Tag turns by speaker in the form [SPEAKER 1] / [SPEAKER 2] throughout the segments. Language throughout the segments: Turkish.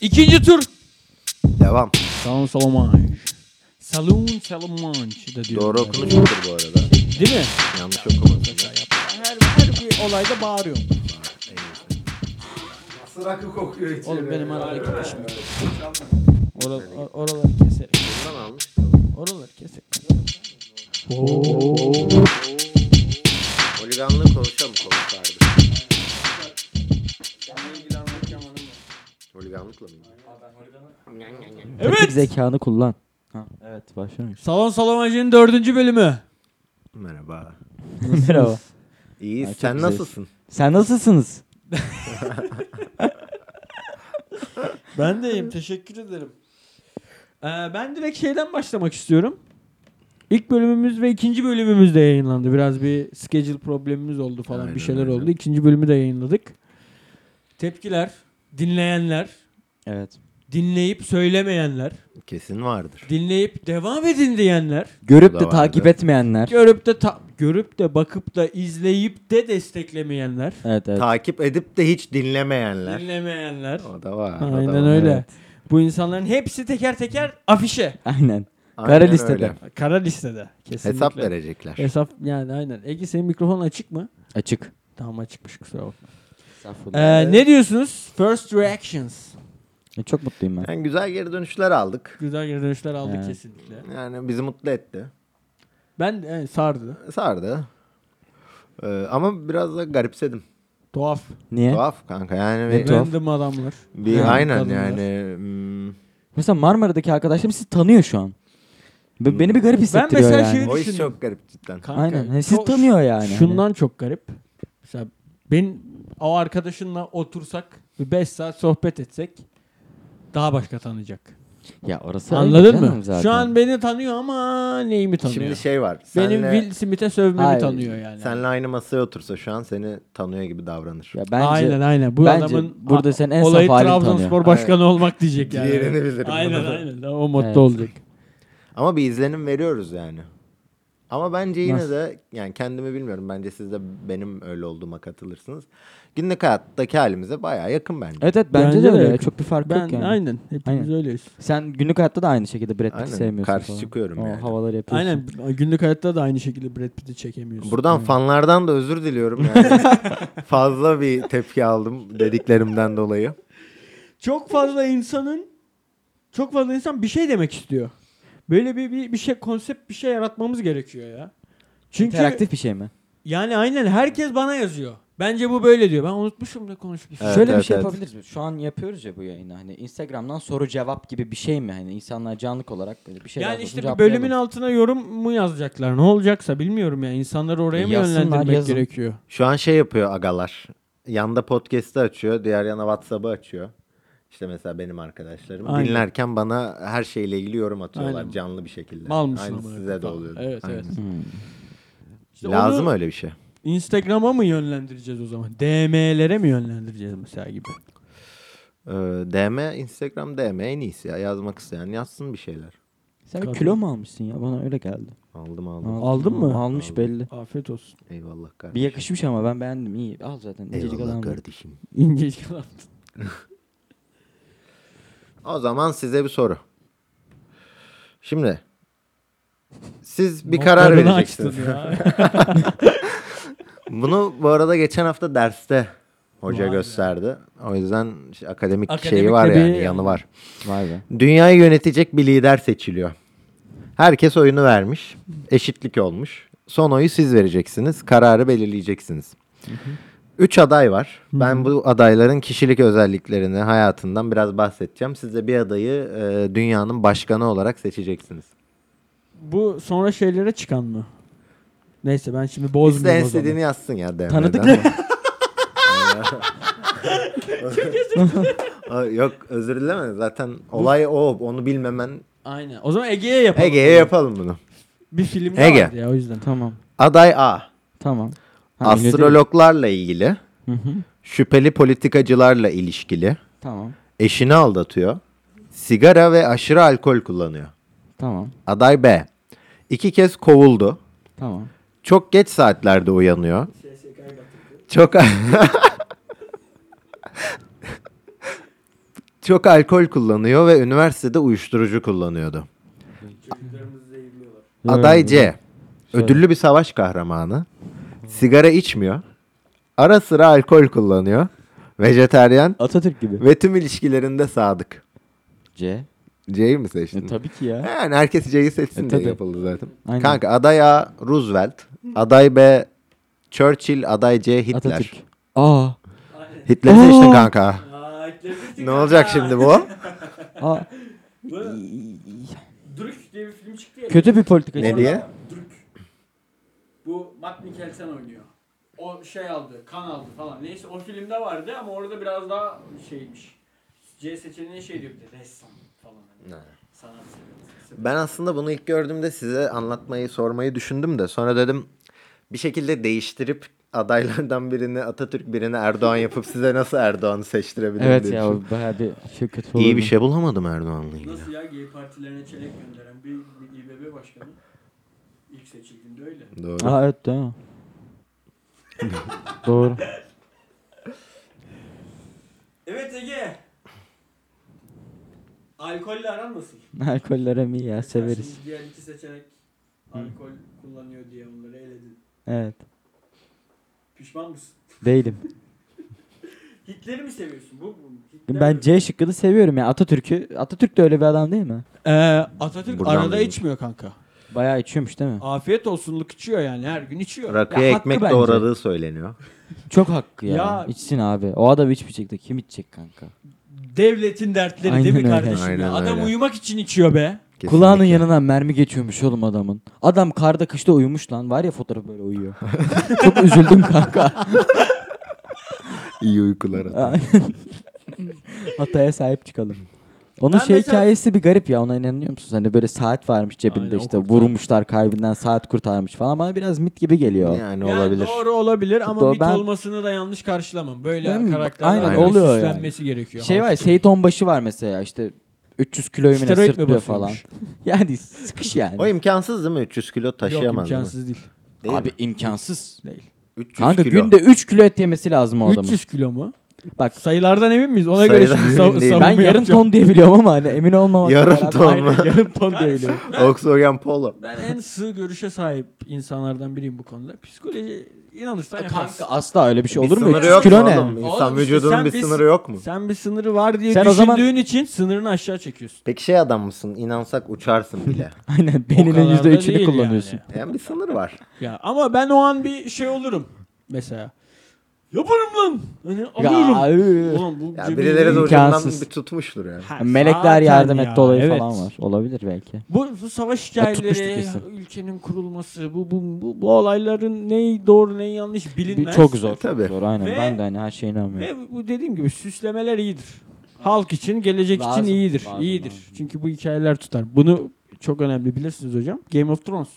[SPEAKER 1] İkinci tur.
[SPEAKER 2] Devam.
[SPEAKER 1] Salon Salamanche. Salon Salamanche da diyor.
[SPEAKER 2] Doğru okunuşudur bu arada.
[SPEAKER 1] Değil mi?
[SPEAKER 2] Yanlış okumasın.
[SPEAKER 1] Her, her bir olayda bağırıyorum.
[SPEAKER 3] Sırakı kokuyor içeri.
[SPEAKER 1] Oğlum benim aralar karışmıyor. Oral, or- oraları keserim.
[SPEAKER 2] Bundan almış.
[SPEAKER 1] Oraları keserim.
[SPEAKER 2] Oliganlığı konuşalım konuş abi. Oliganlıkla mı?
[SPEAKER 1] Evet.
[SPEAKER 4] zekanı kullan. Ha, evet başlamış.
[SPEAKER 1] Salon Salamanche'nin dördüncü bölümü.
[SPEAKER 2] Merhaba.
[SPEAKER 4] Merhaba.
[SPEAKER 2] İyi
[SPEAKER 4] Ha, çok
[SPEAKER 2] sen
[SPEAKER 4] güzel.
[SPEAKER 2] nasılsın?
[SPEAKER 4] Sen nasılsınız?
[SPEAKER 1] Ben de iyiyim. Teşekkür ederim. Ee, ben direkt şeyden başlamak istiyorum. İlk bölümümüz ve ikinci bölümümüz de yayınlandı. Biraz bir schedule problemimiz oldu falan
[SPEAKER 2] Aynen,
[SPEAKER 1] bir şeyler
[SPEAKER 2] aynen.
[SPEAKER 1] oldu. İkinci bölümü de yayınladık. Tepkiler, dinleyenler,
[SPEAKER 4] Evet.
[SPEAKER 1] dinleyip söylemeyenler,
[SPEAKER 2] Kesin vardır.
[SPEAKER 1] dinleyip devam edin diyenler,
[SPEAKER 4] Görüp
[SPEAKER 2] da
[SPEAKER 4] de takip
[SPEAKER 2] vardı.
[SPEAKER 4] etmeyenler.
[SPEAKER 1] görüp de ta- görüp de bakıp da izleyip de desteklemeyenler,
[SPEAKER 4] Evet evet.
[SPEAKER 2] Takip edip de hiç dinlemeyenler.
[SPEAKER 1] dinlemeyenler.
[SPEAKER 2] O da var. o da var.
[SPEAKER 1] Aynen öyle.
[SPEAKER 4] evet.
[SPEAKER 1] Bu insanların hepsi teker teker afişe.
[SPEAKER 4] Aynen.
[SPEAKER 2] Aynen
[SPEAKER 4] Kara listede.
[SPEAKER 2] öyle.
[SPEAKER 1] Kara listede. Kesinlikle.
[SPEAKER 2] Hesap verecekler.
[SPEAKER 1] Hesap yani aynen. Ege senin mikrofon açık mı?
[SPEAKER 4] Açık.
[SPEAKER 1] Tamam açıkmış kusura bakma.
[SPEAKER 4] Estağfurullah.
[SPEAKER 1] Ee, ne diyorsunuz? First reactions.
[SPEAKER 4] E, Çok mutluyum ben.
[SPEAKER 2] Yani güzel geri dönüşler aldık.
[SPEAKER 1] Güzel geri dönüşler aldık
[SPEAKER 4] Evet.
[SPEAKER 1] kesinlikle.
[SPEAKER 2] Yani bizi mutlu etti.
[SPEAKER 1] Ben e, sardı.
[SPEAKER 2] Sardı. Ee, ama biraz da garipsedim.
[SPEAKER 1] Tuhaf.
[SPEAKER 4] Niye?
[SPEAKER 2] Tuhaf kanka yani.
[SPEAKER 4] Ne
[SPEAKER 2] bir-
[SPEAKER 4] tuhaf?
[SPEAKER 1] Random adamlar.
[SPEAKER 2] Bir
[SPEAKER 1] Yani
[SPEAKER 2] aynen
[SPEAKER 1] kadınlar.
[SPEAKER 2] yani. hmm,
[SPEAKER 4] Mesela Marmara'daki arkadaşlarım sizi tanıyor şu an. Be- beni bir garip hissettiriyor
[SPEAKER 1] mesela
[SPEAKER 4] yani.
[SPEAKER 1] şeyi-
[SPEAKER 2] o iş
[SPEAKER 1] düşündüm.
[SPEAKER 2] çok garip cidden.
[SPEAKER 1] Kanka,
[SPEAKER 4] Aynen. Hani sizi
[SPEAKER 1] çok-
[SPEAKER 4] tanıyor yani. Hani
[SPEAKER 1] Şundan çok garip. Mesela ben o arkadaşınla otursak bir 5 saat sohbet etsek daha başka tanıyacak.
[SPEAKER 4] Hani- Ya orası öyle
[SPEAKER 1] Anladın
[SPEAKER 4] canım
[SPEAKER 1] mı?
[SPEAKER 4] Zaten.
[SPEAKER 1] Şu an beni tanıyor ama neyimi tanıyor?
[SPEAKER 2] Şimdi şey var.
[SPEAKER 1] Benim
[SPEAKER 2] senle,
[SPEAKER 1] Will Smith'e sövmemi
[SPEAKER 4] Hayır.
[SPEAKER 1] tanıyor yani.
[SPEAKER 2] senle aynı masaya otursa şu an seni tanıyor gibi davranır.
[SPEAKER 4] Ya bence
[SPEAKER 1] aynen aynen. Bu
[SPEAKER 4] bence
[SPEAKER 1] adamın
[SPEAKER 4] burada
[SPEAKER 1] a-
[SPEAKER 4] sen en saf
[SPEAKER 1] olayı
[SPEAKER 4] halini
[SPEAKER 1] Trabzonspor
[SPEAKER 4] tanıyor.
[SPEAKER 1] başkanı olmak diyecek yani.
[SPEAKER 2] Diğerini bilirim.
[SPEAKER 1] Aynen aynen. O modda
[SPEAKER 4] Evet.
[SPEAKER 1] olacak.
[SPEAKER 2] Ama bir izlenim veriyoruz yani. Ama bence yine
[SPEAKER 4] Nasıl?
[SPEAKER 2] de yani kendimi bilmiyorum. Bence siz de benim öyle olduğuma katılırsınız. Günlük hayattaki halimize bayağı yakın bence.
[SPEAKER 4] Evet evet bence,
[SPEAKER 1] Bence
[SPEAKER 4] de
[SPEAKER 1] de
[SPEAKER 4] öyle.
[SPEAKER 1] yakın.
[SPEAKER 4] Çok bir fark
[SPEAKER 1] Ben
[SPEAKER 4] yok yani.
[SPEAKER 1] aynen. Hepimiz
[SPEAKER 4] Aynen.
[SPEAKER 1] öyleyiz.
[SPEAKER 4] Sen günlük hayatta da aynı şekilde Brad Pitt'i
[SPEAKER 2] Aynen,
[SPEAKER 4] sevmiyorsun
[SPEAKER 2] karşı
[SPEAKER 4] falan.
[SPEAKER 2] çıkıyorum
[SPEAKER 4] o
[SPEAKER 2] yani.
[SPEAKER 4] havaları yapıyorsun.
[SPEAKER 1] Aynen. Günlük hayatta da aynı şekilde Brad Pitt'i çekemiyorsun.
[SPEAKER 2] Buradan fanlardan da özür diliyorum yani. Fazla bir tepki aldım dediklerimden dolayı.
[SPEAKER 1] çok fazla insanın çok fazla insan bir şey demek istiyor. Böyle bir bir, bir şey konsept bir şey yaratmamız gerekiyor ya. Çünkü
[SPEAKER 4] İnteraktif bir şey mi?
[SPEAKER 1] yani aynen herkes bana yazıyor. Bence bu böyle diyor. Ben unutmuşum da konuşmuşum.
[SPEAKER 2] Evet,
[SPEAKER 4] Şöyle
[SPEAKER 2] evet,
[SPEAKER 4] bir şey
[SPEAKER 2] evet.
[SPEAKER 4] yapabiliriz mi? Şu an yapıyoruz ya bu yayını. Hani Instagram'dan soru cevap gibi bir şey mi? Hani insanlar canlı olarak böyle bir şey
[SPEAKER 1] Yani
[SPEAKER 4] yazmasın,
[SPEAKER 1] işte bir
[SPEAKER 4] cevaplayalım.
[SPEAKER 1] bölümün altına yorum mu yazacaklar? Ne olacaksa bilmiyorum ya. İnsanları oraya mı
[SPEAKER 4] Yazsınlar,
[SPEAKER 1] yönlendirmek
[SPEAKER 4] yazın.
[SPEAKER 1] gerekiyor?
[SPEAKER 2] Şu an şey yapıyor agalar. Yanda podcast'i açıyor. Diğer yana Whatsapp'ı açıyor. İşte mesela benim arkadaşlarım.
[SPEAKER 1] Aynen.
[SPEAKER 2] Dinlerken bana her şeyle ilgili yorum atıyorlar
[SPEAKER 1] Aynen.
[SPEAKER 2] canlı bir şekilde.
[SPEAKER 1] Mal mısın
[SPEAKER 2] Aynı
[SPEAKER 1] amına
[SPEAKER 2] size de
[SPEAKER 1] koyayım?
[SPEAKER 2] oluyor.
[SPEAKER 1] Evet,
[SPEAKER 2] Aynen.
[SPEAKER 1] evet.
[SPEAKER 4] Hmm.
[SPEAKER 1] İşte
[SPEAKER 2] Lazım
[SPEAKER 1] onu
[SPEAKER 2] öyle bir şey.
[SPEAKER 1] Instagram'a mı yönlendireceğiz o zaman? DM'lere mi yönlendireceğiz mesela gibi?
[SPEAKER 2] Ee, DM, Instagram DM en iyisi ya. Yazmak isteyen yazsın bir şeyler.
[SPEAKER 4] Sen
[SPEAKER 1] Kadın.
[SPEAKER 4] bir kilo mu almışsın ya? Bana öyle geldi.
[SPEAKER 2] Aldım aldım.
[SPEAKER 4] Aldın,
[SPEAKER 1] Aldın mı?
[SPEAKER 4] Almış
[SPEAKER 2] Aldım.
[SPEAKER 4] belli.
[SPEAKER 1] Afiyet olsun.
[SPEAKER 2] Eyvallah kardeşim.
[SPEAKER 4] Bir yakışmış ama ben beğendim. İyi. Al zaten. İncecik
[SPEAKER 2] Eyvallah
[SPEAKER 4] adam.
[SPEAKER 2] kardeşim.
[SPEAKER 1] İnce kalan.
[SPEAKER 2] O zaman size bir soru. Şimdi siz bir karar
[SPEAKER 1] Notlarını
[SPEAKER 2] vereceksiniz.
[SPEAKER 1] açtın ya.
[SPEAKER 2] Bunu bu arada geçen hafta derste hoca
[SPEAKER 1] Vay be.
[SPEAKER 2] gösterdi. O yüzden şey, akademik,
[SPEAKER 1] Akademik
[SPEAKER 2] şeyi var
[SPEAKER 1] de bir-
[SPEAKER 2] yani yanı var.
[SPEAKER 4] Vay be.
[SPEAKER 2] Dünyayı yönetecek bir lider seçiliyor. Herkes oyunu vermiş. Eşitlik olmuş. Son oyu siz vereceksiniz. Kararı belirleyeceksiniz. Üç aday var. Ben bu adayların kişilik özelliklerini hayatından biraz bahsedeceğim. Siz de bir adayı e, dünyanın başkanı olarak seçeceksiniz.
[SPEAKER 1] Bu sonra şeylere çıkan mı? Neyse ben şimdi
[SPEAKER 2] İsteyen
[SPEAKER 1] bozmuyorum o zaman.
[SPEAKER 2] istediğini yazsın ya. DM'den.
[SPEAKER 4] Tanıdık.
[SPEAKER 2] Aa, Yok özür dileme. Zaten olay o. Onu bilmemen.
[SPEAKER 1] Aynen. O zaman Ege'ye yapalım.
[SPEAKER 2] Ege'ye yapalım bunu.
[SPEAKER 1] Bir film
[SPEAKER 2] Ege.
[SPEAKER 1] vardı ya o yüzden.
[SPEAKER 4] Tamam.
[SPEAKER 2] Aday A.
[SPEAKER 4] Tamam. Ha, öyle değil mi?
[SPEAKER 2] Astrologlarla ilgili.
[SPEAKER 4] Hı hı.
[SPEAKER 2] Şüpheli politikacılarla ilişkili.
[SPEAKER 4] Tamam.
[SPEAKER 2] Eşini aldatıyor. Sigara ve aşırı alkol kullanıyor.
[SPEAKER 4] Tamam.
[SPEAKER 2] Aday B. İki kez kovuldu.
[SPEAKER 4] Tamam.
[SPEAKER 2] Çok geç saatlerde uyanıyor. Çok çok alkol kullanıyor ve üniversitede uyuşturucu kullanıyordu.
[SPEAKER 4] Hmm.
[SPEAKER 2] Aday C. Ödüllü bir savaş kahramanı. Sigara içmiyor. Ara sıra alkol kullanıyor. Vejeteryan
[SPEAKER 4] Atatürk gibi.
[SPEAKER 2] ve tüm ilişkilerinde sadık.
[SPEAKER 4] C.
[SPEAKER 2] C'yi mi
[SPEAKER 4] E,
[SPEAKER 2] seçtin?
[SPEAKER 4] tabii ki ya.
[SPEAKER 2] Yani herkes C'yi seçsin
[SPEAKER 4] E,
[SPEAKER 2] diye
[SPEAKER 4] tabii.
[SPEAKER 2] yapıldı zaten.
[SPEAKER 4] Aynen.
[SPEAKER 2] Kanka aday A Roosevelt, aday B Churchill, aday C Hitler.
[SPEAKER 4] Atatürk. Aa.
[SPEAKER 2] Hitler'i seçtin
[SPEAKER 4] Aa!
[SPEAKER 2] kanka. Ne olacak şimdi bu?
[SPEAKER 4] Aa.
[SPEAKER 1] Drük diye bir film çıktı ya.
[SPEAKER 4] Kötü bir politikacı.
[SPEAKER 2] Ne diye?
[SPEAKER 1] Drük. Bu Matt Mikkelsen oynuyor. O şey aldı, kan aldı falan. Neyse o filmde vardı ama orada biraz daha şeymiş. C seçeneği şey diyor bir de ressam falan. Hani. Sanat seviyorsun.
[SPEAKER 2] Ben aslında bunu ilk gördüğümde size anlatmayı, sormayı düşündüm de sonra dedim bir şekilde değiştirip adaylardan birini Atatürk birini Erdoğan yapıp size nasıl Erdoğan'ı seçtirebilirim
[SPEAKER 4] Evet
[SPEAKER 2] diye
[SPEAKER 4] ya
[SPEAKER 2] düşündüm.
[SPEAKER 4] o bayağı bir şey kötü
[SPEAKER 2] İyi bir
[SPEAKER 4] olurdu.
[SPEAKER 2] şey bulamadım Erdoğan'la ilgili.
[SPEAKER 1] Nasıl ya gay partilerine çelek gönderen bir, bir İBB başkanı? İlk seçildiğinde öyle.
[SPEAKER 2] Doğru.
[SPEAKER 4] Aa evet değil mi? Doğru.
[SPEAKER 1] Evet Ege. Alkolle aran nasıl?
[SPEAKER 4] Alkollere mi ya severiz.
[SPEAKER 1] Şimdi diğer iki seçenek alkol kullanıyor diye onları eledin.
[SPEAKER 4] Evet.
[SPEAKER 1] Pişman mısın?
[SPEAKER 4] Değilim.
[SPEAKER 1] Hitler'i mi seviyorsun? Bu, bu Hitler
[SPEAKER 4] Ben C şıkkını seviyorum ya. Atatürk'ü. Atatürk de öyle bir adam değil mi?
[SPEAKER 1] Ee, Atatürk
[SPEAKER 2] Buradan
[SPEAKER 1] arada
[SPEAKER 2] duydum.
[SPEAKER 1] içmiyor kanka.
[SPEAKER 4] Bayağı içiyormuş değil mi?
[SPEAKER 1] Afiyet olsunluk içiyor yani her gün içiyor.
[SPEAKER 2] Rakıya
[SPEAKER 4] Ya hakkı
[SPEAKER 2] ekmek
[SPEAKER 4] bence.
[SPEAKER 2] doğradığı söyleniyor.
[SPEAKER 4] Çok hakkı ya.
[SPEAKER 1] Ya-
[SPEAKER 4] İçsin abi. O adam içmeyecek de kim içecek kanka?
[SPEAKER 1] Devletin dertleri değil mi
[SPEAKER 4] Aynen öyle.
[SPEAKER 1] kardeşim? ya?
[SPEAKER 2] Aynen
[SPEAKER 1] Adam
[SPEAKER 2] öyle.
[SPEAKER 1] uyumak için içiyor be.
[SPEAKER 4] Kulağının
[SPEAKER 2] Kesinlikle.
[SPEAKER 4] yanından mermi geçiyormuş oğlum adamın. Adam karda kışta uyumuş lan. Var ya fotoğraf böyle uyuyor. Çok üzüldüm kanka.
[SPEAKER 2] İyi uykular. Atatürk.
[SPEAKER 4] Hataya sahip çıkalım. Onun
[SPEAKER 1] Ben
[SPEAKER 4] şey
[SPEAKER 1] mesela-
[SPEAKER 4] hikayesi bir garip ya ona inanıyor musun? Hani böyle saat varmış cebinde
[SPEAKER 1] Aynen, o
[SPEAKER 4] işte
[SPEAKER 1] kurtarmış.
[SPEAKER 4] vurmuşlar kalbinden saat kurtarmış falan bana biraz mit gibi geliyor.
[SPEAKER 2] Yani
[SPEAKER 1] Yani
[SPEAKER 2] olabilir.
[SPEAKER 1] Doğru olabilir ama
[SPEAKER 4] Doğru,
[SPEAKER 1] mit
[SPEAKER 4] ben-
[SPEAKER 1] olmasını da yanlış karşılamam. Böyle
[SPEAKER 4] Değil mi?
[SPEAKER 1] karakterler
[SPEAKER 4] Aynen,
[SPEAKER 1] oluyor
[SPEAKER 4] oluyor
[SPEAKER 1] süslenmesi gerekiyor.
[SPEAKER 4] Şey var Seyit Onbaşı var mesela işte 300 kilo yemine
[SPEAKER 1] Steroid mi
[SPEAKER 4] sırtlıyor falan.
[SPEAKER 1] basıyormuş?
[SPEAKER 4] Yani sıkış yani.
[SPEAKER 2] O imkansız değil mi? 300 kilo
[SPEAKER 1] Yok
[SPEAKER 2] taşıyamaz mı?
[SPEAKER 1] imkansız değil.
[SPEAKER 2] Değil
[SPEAKER 4] Abi
[SPEAKER 2] mi?
[SPEAKER 4] imkansız.
[SPEAKER 2] 300
[SPEAKER 4] Kanka
[SPEAKER 2] kilo.
[SPEAKER 4] günde 3 kilo et yemesi lazım o adamın.
[SPEAKER 1] 300 kilo mu?
[SPEAKER 4] Bak
[SPEAKER 1] Sayılardan emin miyiz? Ona
[SPEAKER 2] Sayıdan
[SPEAKER 1] göre şimdi sav-
[SPEAKER 2] emin değilim.
[SPEAKER 1] savunma
[SPEAKER 4] ben yarım
[SPEAKER 1] yapacağım.
[SPEAKER 4] ton diye biliyorum ama hani emin olmamak.
[SPEAKER 2] Yarım ton mu?
[SPEAKER 4] yarım ton diye biliyorum.
[SPEAKER 2] Oxygen Polo.
[SPEAKER 1] Ben en sığ görüşe sahip insanlardan biriyim bu konuda. Psikoloji inanırsan yaparsın.
[SPEAKER 4] Kanka asla öyle bir şey olur mu?
[SPEAKER 2] sınırı
[SPEAKER 4] 300
[SPEAKER 2] yok mu
[SPEAKER 4] kilo ne?
[SPEAKER 2] oğlum? İnsan
[SPEAKER 1] Oğlum işte
[SPEAKER 2] vücudunun
[SPEAKER 1] sen
[SPEAKER 2] bir
[SPEAKER 1] bir-
[SPEAKER 2] sınırı yok mu?
[SPEAKER 1] Sen bir sınırı var diye
[SPEAKER 4] Sen o
[SPEAKER 1] düşündüğün
[SPEAKER 4] zaman-
[SPEAKER 1] için sınırını aşağı çekiyorsun.
[SPEAKER 2] Peki şey adam mısın? İnansak uçarsın bile.
[SPEAKER 4] Aynen
[SPEAKER 1] O kadar
[SPEAKER 4] beyninin
[SPEAKER 1] da
[SPEAKER 4] yüzde üçünü
[SPEAKER 1] değil
[SPEAKER 4] kullanıyorsun.
[SPEAKER 1] yani.
[SPEAKER 2] Yani bir sınır var.
[SPEAKER 1] Ya ama ben o an bir şey olurum mesela. Yaparım lan. Hani alıyorum.
[SPEAKER 4] Ya, ıı.
[SPEAKER 1] Ulan bu
[SPEAKER 2] Ya
[SPEAKER 1] cebimde
[SPEAKER 2] birileri de
[SPEAKER 1] değil.
[SPEAKER 2] ucundan
[SPEAKER 4] İmkansız.
[SPEAKER 2] bir tutmuştur yani.
[SPEAKER 1] Ha,
[SPEAKER 4] Melekler
[SPEAKER 1] zaten
[SPEAKER 4] yardım etti
[SPEAKER 1] ya,
[SPEAKER 4] olayı
[SPEAKER 1] evet.
[SPEAKER 4] falan var. Olabilir belki.
[SPEAKER 1] Bu, bu savaş
[SPEAKER 4] Ya tutmuştuk
[SPEAKER 1] hikayeleri,
[SPEAKER 4] kesin.
[SPEAKER 1] ülkenin kurulması, bu, bu, bu, bu olayların neyi doğru neyi yanlış
[SPEAKER 4] Bir,
[SPEAKER 1] bilinmez.
[SPEAKER 4] çok zor. Tabii.
[SPEAKER 2] Tabii.
[SPEAKER 4] Zor aynen.
[SPEAKER 1] Ve-
[SPEAKER 4] ben de hani her şeye inanmıyorum.
[SPEAKER 1] Ve bu dediğim gibi süslemeler iyidir. Halk için, gelecek
[SPEAKER 4] Lazım,
[SPEAKER 1] için iyidir.
[SPEAKER 4] lazım,
[SPEAKER 1] iyidir.
[SPEAKER 4] lazım.
[SPEAKER 1] Çünkü bu hikayeler tutar. Bunu çok önemli bilirsiniz hocam. Game of Thrones.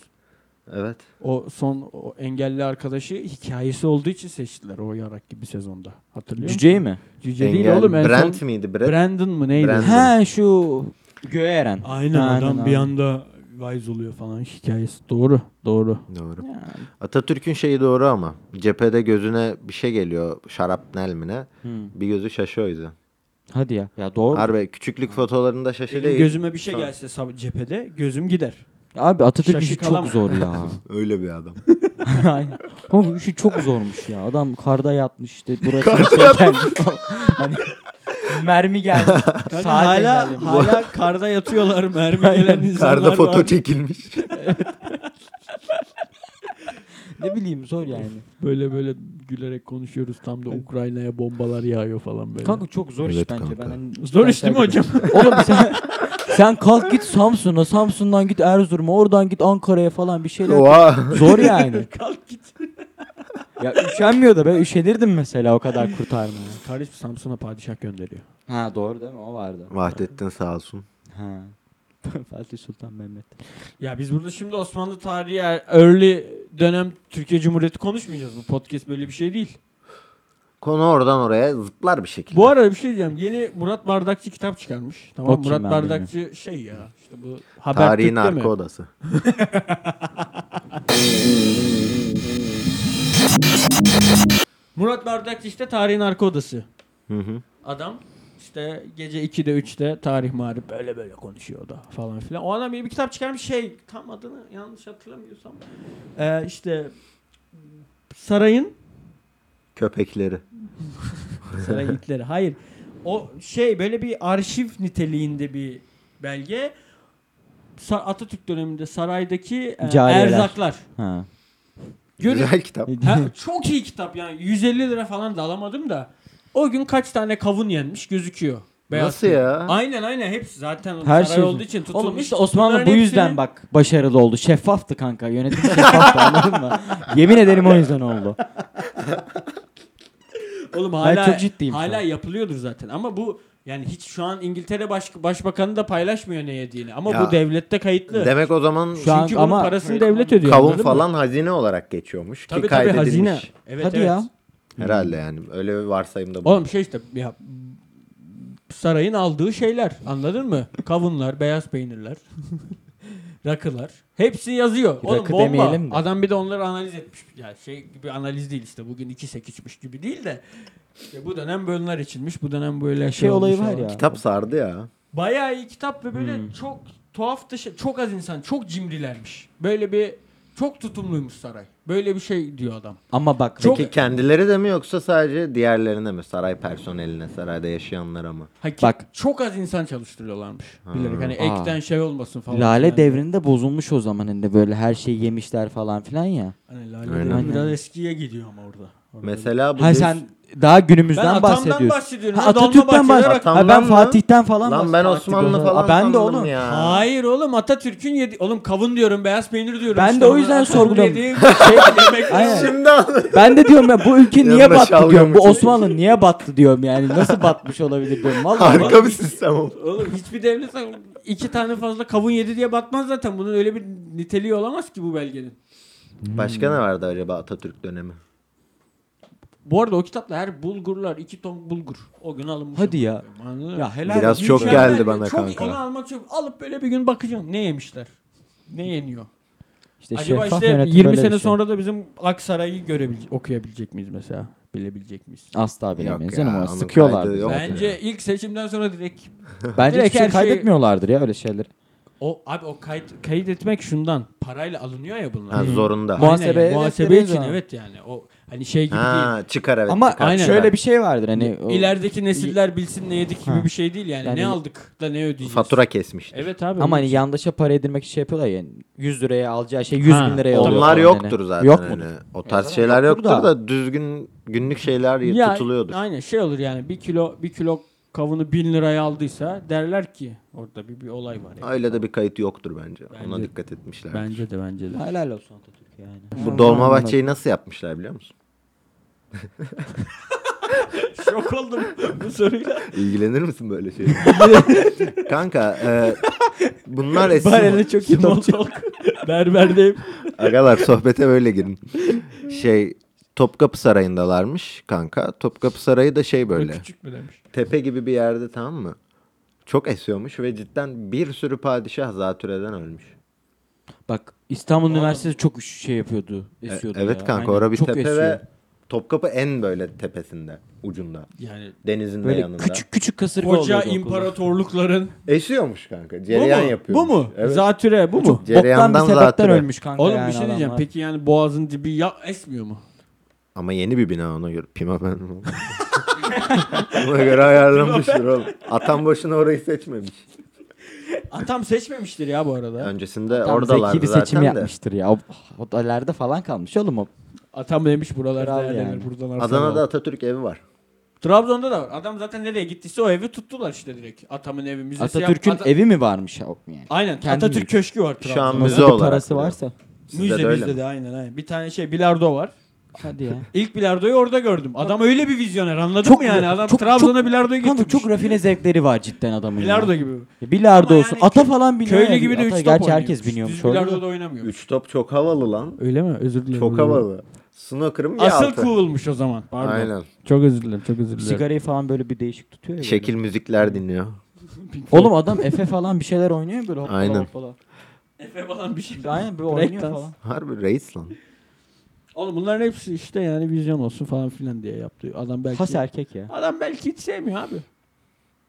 [SPEAKER 2] Evet.
[SPEAKER 1] O son o engelli arkadaşı hikayesi olduğu için seçtiler o yarak gibi sezonda. Hatırlıyor musun?
[SPEAKER 4] Cüceyi mi?
[SPEAKER 1] Cüce değil
[SPEAKER 2] Engel,
[SPEAKER 1] oğlum en
[SPEAKER 2] Brent
[SPEAKER 1] son
[SPEAKER 2] miydi? Brent.
[SPEAKER 1] Brandon mı neydi?
[SPEAKER 2] Brand-
[SPEAKER 4] He şu göğe eren.
[SPEAKER 1] Aynen
[SPEAKER 4] Aynen,
[SPEAKER 1] adam bir
[SPEAKER 4] aynen.
[SPEAKER 1] anda wise oluyor falan hikayesi. Doğru. Doğru.
[SPEAKER 2] Doğru.
[SPEAKER 4] Yani.
[SPEAKER 2] Atatürk'ün şeyi doğru ama. Cephede gözüne bir şey geliyor şarap nelmine.
[SPEAKER 4] Hı.
[SPEAKER 2] Bir gözü şaşı o yüzden.
[SPEAKER 4] Hadi ya. Ya doğru.
[SPEAKER 2] Harbi küçüklük fotolarında şaşı
[SPEAKER 1] Benim
[SPEAKER 2] değil.
[SPEAKER 1] gözüme bir şey
[SPEAKER 2] Sonra-
[SPEAKER 1] gelse sab- cephede gözüm gider.
[SPEAKER 4] Abi Atatürk
[SPEAKER 1] Şaşı
[SPEAKER 4] işi
[SPEAKER 1] kalam.
[SPEAKER 4] çok zor ya.
[SPEAKER 2] Öyle bir adam.
[SPEAKER 4] Aynen. Ama bu işi çok zormuş ya. Adam karda yatmış işte. Burası bir şey gelmiş falan. hani mermi geldi. Saat
[SPEAKER 1] Kanka hala
[SPEAKER 4] engelli.
[SPEAKER 1] hala karda yatıyorlar mermi gelen insanlar
[SPEAKER 2] Karda foto
[SPEAKER 1] var.
[SPEAKER 2] çekilmiş.
[SPEAKER 4] Ne bileyim zor yani.
[SPEAKER 1] Böyle böyle gülerek konuşuyoruz tam da Ukrayna'ya bombalar yağıyor falan böyle.
[SPEAKER 4] Kanka çok zor iş
[SPEAKER 2] Evet
[SPEAKER 4] bence.
[SPEAKER 2] kanka.
[SPEAKER 4] Ben hani-
[SPEAKER 1] Zor iş değil mi hocam?
[SPEAKER 4] Oğlum sen sen kalk git Samsun'a, Samsun'dan git Erzurum'a, oradan git Ankara'ya falan bir şeyler.
[SPEAKER 2] Oha.
[SPEAKER 4] Zor yani.
[SPEAKER 1] Kalk git.
[SPEAKER 4] ya üşenmiyor da ben üşenirdim mesela o kadar kurtarmaya.
[SPEAKER 1] Kardeşim Samsun'a padişah gönderiyor.
[SPEAKER 4] Ha doğru değil mi? O vardı.
[SPEAKER 2] Vahdettin sağ olsun.
[SPEAKER 4] Ha. Fatih Sultan Mehmet.
[SPEAKER 1] Ya biz burada şimdi Osmanlı tarihi er- early dönem Türkiye Cumhuriyeti konuşmayacağız. Bu podcast böyle bir şey değil.
[SPEAKER 2] Konu oradan oraya zıplar bir şekilde.
[SPEAKER 1] Bu arada bir şey diyeceğim. Yeni Murat Bardakçı kitap çıkarmış. Tamam
[SPEAKER 4] O kim
[SPEAKER 1] Murat
[SPEAKER 4] ben
[SPEAKER 1] Bardakçı şey ya. işte bu
[SPEAKER 2] Tarihin
[SPEAKER 1] Habertürk'te mi?
[SPEAKER 2] arka odası.
[SPEAKER 1] Murat Bardakçı işte tarihin arka odası.
[SPEAKER 2] Hı hı.
[SPEAKER 1] Adam İşte gece 2'de 3'te tarih marif böyle böyle konuşuyor da falan filan. O adam bir, bir kitap çıkarmış şey tam adını yanlış hatırlamıyorsam. Ee, işte sarayın
[SPEAKER 2] Köpekleri.
[SPEAKER 1] saray itleri. Hayır. O şey böyle bir arşiv niteliğinde bir belge. Sa- Atatürk döneminde saraydaki e,
[SPEAKER 4] Cariyeler.
[SPEAKER 1] erzaklar.
[SPEAKER 4] Ha.
[SPEAKER 1] Görün
[SPEAKER 2] Güzel kitap.
[SPEAKER 1] Ha, çok iyi kitap yani. 150 lira falan da alamadım da. O gün kaç tane kavun yenmiş gözüküyor.
[SPEAKER 2] Nasıl
[SPEAKER 1] kağıt.
[SPEAKER 2] ya?
[SPEAKER 1] Aynen aynen hepsi zaten
[SPEAKER 4] Her
[SPEAKER 1] saray
[SPEAKER 4] şey-
[SPEAKER 1] olduğu için tutulmuş.
[SPEAKER 4] Oğlum işte Osmanlı bu
[SPEAKER 1] Bunların
[SPEAKER 4] yüzden
[SPEAKER 1] hepsini-
[SPEAKER 4] bak başarılı oldu. Şeffaftı kanka. Yönetim şeffaftı anladın mı? Yemin ederim o yüzden oldu.
[SPEAKER 1] Oğlum hala,
[SPEAKER 4] çok ciddiyim şu
[SPEAKER 1] hala
[SPEAKER 4] an.
[SPEAKER 1] yapılıyordur zaten ama bu yani hiç şu an İngiltere baş, Başbakanı da paylaşmıyor ne yediğini ama
[SPEAKER 2] Ya.
[SPEAKER 1] bu devlette kayıtlı.
[SPEAKER 2] Demek o zaman
[SPEAKER 1] Çünkü
[SPEAKER 4] Şu an
[SPEAKER 1] bunun
[SPEAKER 4] ama-
[SPEAKER 1] parasını devlet ödüyor.
[SPEAKER 2] kavun
[SPEAKER 1] anladın mı?
[SPEAKER 2] falan hazine olarak geçiyormuş ki
[SPEAKER 1] Tabii tabii
[SPEAKER 2] kaydedilmiş.
[SPEAKER 1] hazine. Hmm. Evet,
[SPEAKER 4] Hadi
[SPEAKER 1] evet.
[SPEAKER 4] ya.
[SPEAKER 2] Herhalde yani öyle bir varsayımda bu.
[SPEAKER 1] Oğlum şey işte ya sarayın aldığı şeyler anladın mı? Kavunlar, beyaz peynirler, rakılar. Hepsi yazıyor. Oğlum
[SPEAKER 4] Rakı
[SPEAKER 1] bomba.
[SPEAKER 4] demeyelim de.
[SPEAKER 1] Adam bir de onları analiz etmiş. Ya şey gibi analiz değil işte. Bugün 2 sek içmiş gibi değil de. İşte bu dönem bunlar içilmiş. Bu dönem böyle şey,
[SPEAKER 4] Şey olayı
[SPEAKER 1] olmuş
[SPEAKER 4] var
[SPEAKER 1] falan.
[SPEAKER 4] ya. Hmm.
[SPEAKER 2] Kitap sardı ya.
[SPEAKER 1] Bayağı iyi kitap ve böyle çok tuhaf dışı çok az insan çok cimrilermiş. Böyle bir çok tutumluymuş saray. Böyle bir şey diyor adam.
[SPEAKER 4] Ama bak
[SPEAKER 1] Çok-
[SPEAKER 2] Peki kendileri de mi yoksa sadece diğerlerine mi? Saray personeline, sarayda yaşayanlara mı?
[SPEAKER 1] Hakik-
[SPEAKER 4] Bak.
[SPEAKER 1] çok az insan çalıştırıyorlarmış. Bilerek hani
[SPEAKER 4] Aa.
[SPEAKER 1] ekten şey olmasın falan.
[SPEAKER 4] Lale
[SPEAKER 1] filan.
[SPEAKER 4] devrinde bozulmuş o zaman hani böyle her şeyi yemişler falan filan ya.
[SPEAKER 1] Hani Lale
[SPEAKER 2] Aynen.
[SPEAKER 1] Devri biraz eskiye gidiyor ama orada. Orada
[SPEAKER 2] Mesela bu
[SPEAKER 4] Ha
[SPEAKER 2] düz-
[SPEAKER 4] sen daha günümüzden
[SPEAKER 1] Ben atamdan
[SPEAKER 4] bahsediyorsun.
[SPEAKER 1] bahsediyorum.
[SPEAKER 4] Ha,
[SPEAKER 1] Ya,
[SPEAKER 4] Atatürk'ten
[SPEAKER 1] Dolmabahçe'de
[SPEAKER 4] bahsediyorum.
[SPEAKER 1] bak-
[SPEAKER 4] Ha, ben
[SPEAKER 2] Atamdan mı?
[SPEAKER 4] Fatih'ten falan
[SPEAKER 2] Lan ben
[SPEAKER 4] bahsettim.
[SPEAKER 2] Osmanlı
[SPEAKER 4] Ha,
[SPEAKER 2] falan
[SPEAKER 4] ben de
[SPEAKER 2] sandım
[SPEAKER 4] onu.
[SPEAKER 2] ya.
[SPEAKER 1] Hayır oğlum Atatürk'ün yedi... Oğlum kavun diyorum, beyaz peynir diyorum.
[SPEAKER 4] Ben
[SPEAKER 1] işte
[SPEAKER 4] de o
[SPEAKER 1] bana
[SPEAKER 4] yüzden
[SPEAKER 1] Atatürk'ün
[SPEAKER 4] sorguladım.
[SPEAKER 1] yediği Şey, yemek
[SPEAKER 4] Aynen.
[SPEAKER 2] Şimdi anladım.
[SPEAKER 4] Ben de diyorum ya bu ülke niye
[SPEAKER 2] Yanına
[SPEAKER 4] battı
[SPEAKER 2] şalgam
[SPEAKER 4] diyorum. Bu
[SPEAKER 2] içiyor.
[SPEAKER 4] Osmanlı niye battı diyorum yani. Nasıl batmış olabilir diyorum. Vallahi
[SPEAKER 2] Harika bir sistem oldu.
[SPEAKER 1] Oğlum hiçbir devlet iki tane fazla kavun yedi diye batmaz zaten. Bunun öyle bir niteliği olamaz ki bu belgenin. Hmm.
[SPEAKER 2] Başka ne vardı acaba Atatürk dönemi?
[SPEAKER 1] Bu arada o kitapta her bulgurlar iki ton bulgur. O gün alınmış.
[SPEAKER 4] Hadi ya.
[SPEAKER 1] Anladın mı?
[SPEAKER 4] Ya helal
[SPEAKER 2] Biraz
[SPEAKER 4] olsun.
[SPEAKER 2] çok
[SPEAKER 4] Ya.
[SPEAKER 1] Mükemmel
[SPEAKER 2] geldi
[SPEAKER 1] ya.
[SPEAKER 2] bana
[SPEAKER 1] çok,
[SPEAKER 2] kanka.
[SPEAKER 1] Onu almak çok. Alıp böyle bir gün bakacağım. Ne yemişler? Ne yeniyor?
[SPEAKER 4] İşte
[SPEAKER 1] Acaba
[SPEAKER 4] şeffaf
[SPEAKER 1] işte
[SPEAKER 4] yönetim
[SPEAKER 1] 20
[SPEAKER 4] böyle
[SPEAKER 1] sene
[SPEAKER 4] bir şey.
[SPEAKER 1] sonra da bizim Aksaray'ı görebilecek, okuyabilecek miyiz mesela? Bilebilecek miyiz?
[SPEAKER 4] Asla bilemeyiz
[SPEAKER 2] Yok
[SPEAKER 4] canım
[SPEAKER 2] ya,
[SPEAKER 4] ama
[SPEAKER 2] onun
[SPEAKER 4] sıkıyorlar.
[SPEAKER 2] kaydı
[SPEAKER 4] bizi.
[SPEAKER 2] yok.
[SPEAKER 1] Bence ilk seçimden sonra direkt
[SPEAKER 4] Bence
[SPEAKER 1] Direkt
[SPEAKER 4] hiç şey
[SPEAKER 1] her şeyi-
[SPEAKER 4] kaydetmiyorlardır ya öyle şeyleri.
[SPEAKER 1] o abi o kayıt kayıt etmek şundan parayla alınıyor ya bunlar.
[SPEAKER 2] Ha, zorunda.
[SPEAKER 1] Aynen,
[SPEAKER 4] Muhasebe- evet,
[SPEAKER 1] muhasebe
[SPEAKER 4] dediğin
[SPEAKER 1] için
[SPEAKER 4] zaman.
[SPEAKER 1] evet yani o hani şey gibi değil.
[SPEAKER 2] Ha, çıkar evet.
[SPEAKER 4] Ama
[SPEAKER 2] çıkar,
[SPEAKER 1] aynen.
[SPEAKER 2] çıkar.
[SPEAKER 4] şöyle bir şey vardır hani. o-
[SPEAKER 1] İlerideki nesiller bilsin ne yedik gibi
[SPEAKER 4] Ha.
[SPEAKER 1] bir şey değil yani.
[SPEAKER 4] Yani-
[SPEAKER 1] ne aldık da ne ödeyeceğiz.
[SPEAKER 2] fatura kesmişti.
[SPEAKER 1] Evet abi.
[SPEAKER 4] Ama
[SPEAKER 1] Ama
[SPEAKER 4] hani yandaşa para edilmek için şey yapıyorlar ya. 100 liraya alacağı şey 100
[SPEAKER 1] Ha,
[SPEAKER 4] bin liraya oluyor.
[SPEAKER 2] Onlar
[SPEAKER 4] falan
[SPEAKER 2] yoktur
[SPEAKER 4] hani.
[SPEAKER 2] zaten.
[SPEAKER 4] Yok
[SPEAKER 2] hani.
[SPEAKER 4] mu?
[SPEAKER 2] O tarz
[SPEAKER 4] zaten
[SPEAKER 2] şeyler
[SPEAKER 4] yoktur
[SPEAKER 2] yoktur
[SPEAKER 4] da.
[SPEAKER 2] da. düzgün günlük şeyler tutuluyordur.
[SPEAKER 1] Aynen şey olur yani bir kilo bir kilo kavunu bin liraya aldıysa derler ki orada bir, bir olay var. Yani.
[SPEAKER 2] Öyle de bir kayıt yoktur bence. Ona
[SPEAKER 1] Bence-
[SPEAKER 2] dikkat etmişler.
[SPEAKER 1] Bence de bence de.
[SPEAKER 4] Helal olsun Atatürk yani.
[SPEAKER 2] Bu Dolmabahçe'yi nasıl yapmışlar biliyor musun?
[SPEAKER 1] Şok oldum bu soruyla.
[SPEAKER 2] İlgilenir misin böyle şeyle? Kanka e, bunlar eski...
[SPEAKER 4] Barele çok iyi
[SPEAKER 1] Small
[SPEAKER 4] dolmuş.
[SPEAKER 1] talk. Berberdeyim.
[SPEAKER 2] Agalar sohbete böyle girin. Şey Topkapı Sarayı'ndalarmış kanka. Topkapı Sarayı da şey böyle.
[SPEAKER 1] Küçük mü demiş.
[SPEAKER 2] Tepe gibi bir yerde tamam mı? Çok esiyormuş ve cidden bir sürü padişah zatürreden ölmüş.
[SPEAKER 4] Bak İstanbul Üniversitesi çok şey yapıyordu. Esiyordu
[SPEAKER 2] E, evet
[SPEAKER 4] ya.
[SPEAKER 2] kanka
[SPEAKER 4] Aynen,
[SPEAKER 2] orada bir
[SPEAKER 4] çok
[SPEAKER 2] tepe
[SPEAKER 4] esiyor.
[SPEAKER 2] ve Topkapı en böyle tepesinde ucunda.
[SPEAKER 1] Yani
[SPEAKER 2] Denizin de
[SPEAKER 4] Böyle
[SPEAKER 2] yanında.
[SPEAKER 4] küçük küçük kasırga
[SPEAKER 1] koca
[SPEAKER 4] oluyordu okulda.
[SPEAKER 1] imparatorlukların
[SPEAKER 2] Esiyormuş kanka. Cereyan
[SPEAKER 1] bu mu?
[SPEAKER 2] yapıyormuş.
[SPEAKER 1] Bu mu?
[SPEAKER 2] Evet.
[SPEAKER 1] Zatüre bu mu?
[SPEAKER 4] Boktan bir
[SPEAKER 2] Cereyandan
[SPEAKER 4] sebepten
[SPEAKER 2] zatürre.
[SPEAKER 4] ölmüş kanka
[SPEAKER 1] Oğlum
[SPEAKER 4] yani
[SPEAKER 1] bir şey diyeceğim.
[SPEAKER 4] adamlar.
[SPEAKER 1] Peki yani boğazın dibi ya esmiyor mu?
[SPEAKER 2] Ama yeni bir bina ona göre. Pima ben. Ona göre ayarlamıştır oğlum. Atam boşuna orayı seçmemiş.
[SPEAKER 1] Atam seçmemiştir ya bu arada.
[SPEAKER 2] Öncesinde
[SPEAKER 4] Tam
[SPEAKER 2] oradalardı
[SPEAKER 4] zeki bir seçim
[SPEAKER 2] zaten de.
[SPEAKER 4] yapmıştır ya. O- Odalarda falan kalmış oğlum o.
[SPEAKER 1] Atam demiş buralarda
[SPEAKER 4] Kral
[SPEAKER 1] yer
[SPEAKER 4] yani.
[SPEAKER 1] denir, buradan arsa
[SPEAKER 2] Adana'da
[SPEAKER 1] var.
[SPEAKER 2] Atatürk evi var.
[SPEAKER 1] Trabzon'da da var. Adam zaten nereye gittiyse o evi tuttular işte direkt. Atamın evi müzesi. yap-
[SPEAKER 4] Atatürk'ün
[SPEAKER 1] Ata-
[SPEAKER 4] evi mi varmış ya? yani?
[SPEAKER 1] Aynen.
[SPEAKER 4] Kendi
[SPEAKER 1] Atatürk
[SPEAKER 4] mülkü.
[SPEAKER 1] Köşkü var
[SPEAKER 2] Şu
[SPEAKER 1] Trabzon'da.
[SPEAKER 2] an
[SPEAKER 4] Nasıl
[SPEAKER 2] Müze
[SPEAKER 4] bir
[SPEAKER 2] olarak
[SPEAKER 4] parası
[SPEAKER 2] duruyor.
[SPEAKER 4] varsa.
[SPEAKER 2] Sizde de
[SPEAKER 1] Müze
[SPEAKER 2] öyle
[SPEAKER 1] bizde
[SPEAKER 2] mi?
[SPEAKER 1] de aynen aynen. Bir tane şey bilardo var.
[SPEAKER 4] Hadi ya.
[SPEAKER 1] İlk bilardoyu orada gördüm. Adam öyle bir vizyoner anladın
[SPEAKER 4] Çok
[SPEAKER 1] mı yani? Adam
[SPEAKER 4] çok-
[SPEAKER 1] Trabzon'a
[SPEAKER 4] çok-
[SPEAKER 1] bilardoyu
[SPEAKER 4] Kanka
[SPEAKER 1] getirmiş.
[SPEAKER 4] çok rafine zevkleri var cidden adamın.
[SPEAKER 1] şey- bilardo
[SPEAKER 4] ya.
[SPEAKER 1] gibi.
[SPEAKER 4] Ya Bilardo
[SPEAKER 1] Ama
[SPEAKER 4] olsun.
[SPEAKER 1] yani
[SPEAKER 4] ata falan biniyor.
[SPEAKER 1] Köylü
[SPEAKER 4] ya.
[SPEAKER 1] gibi de
[SPEAKER 4] Ata-
[SPEAKER 1] üç top
[SPEAKER 4] Gerçi
[SPEAKER 1] oynuyor.
[SPEAKER 4] herkes biniyormuş.
[SPEAKER 1] Düz
[SPEAKER 4] orada da.
[SPEAKER 1] bilardo da oynamıyor.
[SPEAKER 2] Üç top çok havalı lan.
[SPEAKER 1] Öyle mi? Özür dilerim.
[SPEAKER 2] Çok havalı. Snooker'ım ya
[SPEAKER 1] Asıl
[SPEAKER 2] altı.
[SPEAKER 1] coolmuş o zaman. Pardon.
[SPEAKER 2] Aynen.
[SPEAKER 1] Çok özür dilerim. Çok özür dilerim.
[SPEAKER 4] Sigarayı falan böyle bir değişik tutuyor ya. böyle.
[SPEAKER 2] Şekil müzikler dinliyor.
[SPEAKER 4] Oğlum adam Efe falan bir şeyler oynuyor ya böyle hoppala
[SPEAKER 2] Aynen.
[SPEAKER 4] hoppala.
[SPEAKER 1] Efe falan bir şey.
[SPEAKER 4] Aynen böyle
[SPEAKER 1] Break
[SPEAKER 4] oynuyor
[SPEAKER 1] dance.
[SPEAKER 4] falan.
[SPEAKER 2] Harbi reis lan.
[SPEAKER 1] Oğlum bunların hepsi işte yani vizyon olsun falan filan diye yaptı. Adam belki
[SPEAKER 4] Has erkek ya.
[SPEAKER 1] Adam belki hiç sevmiyor abi.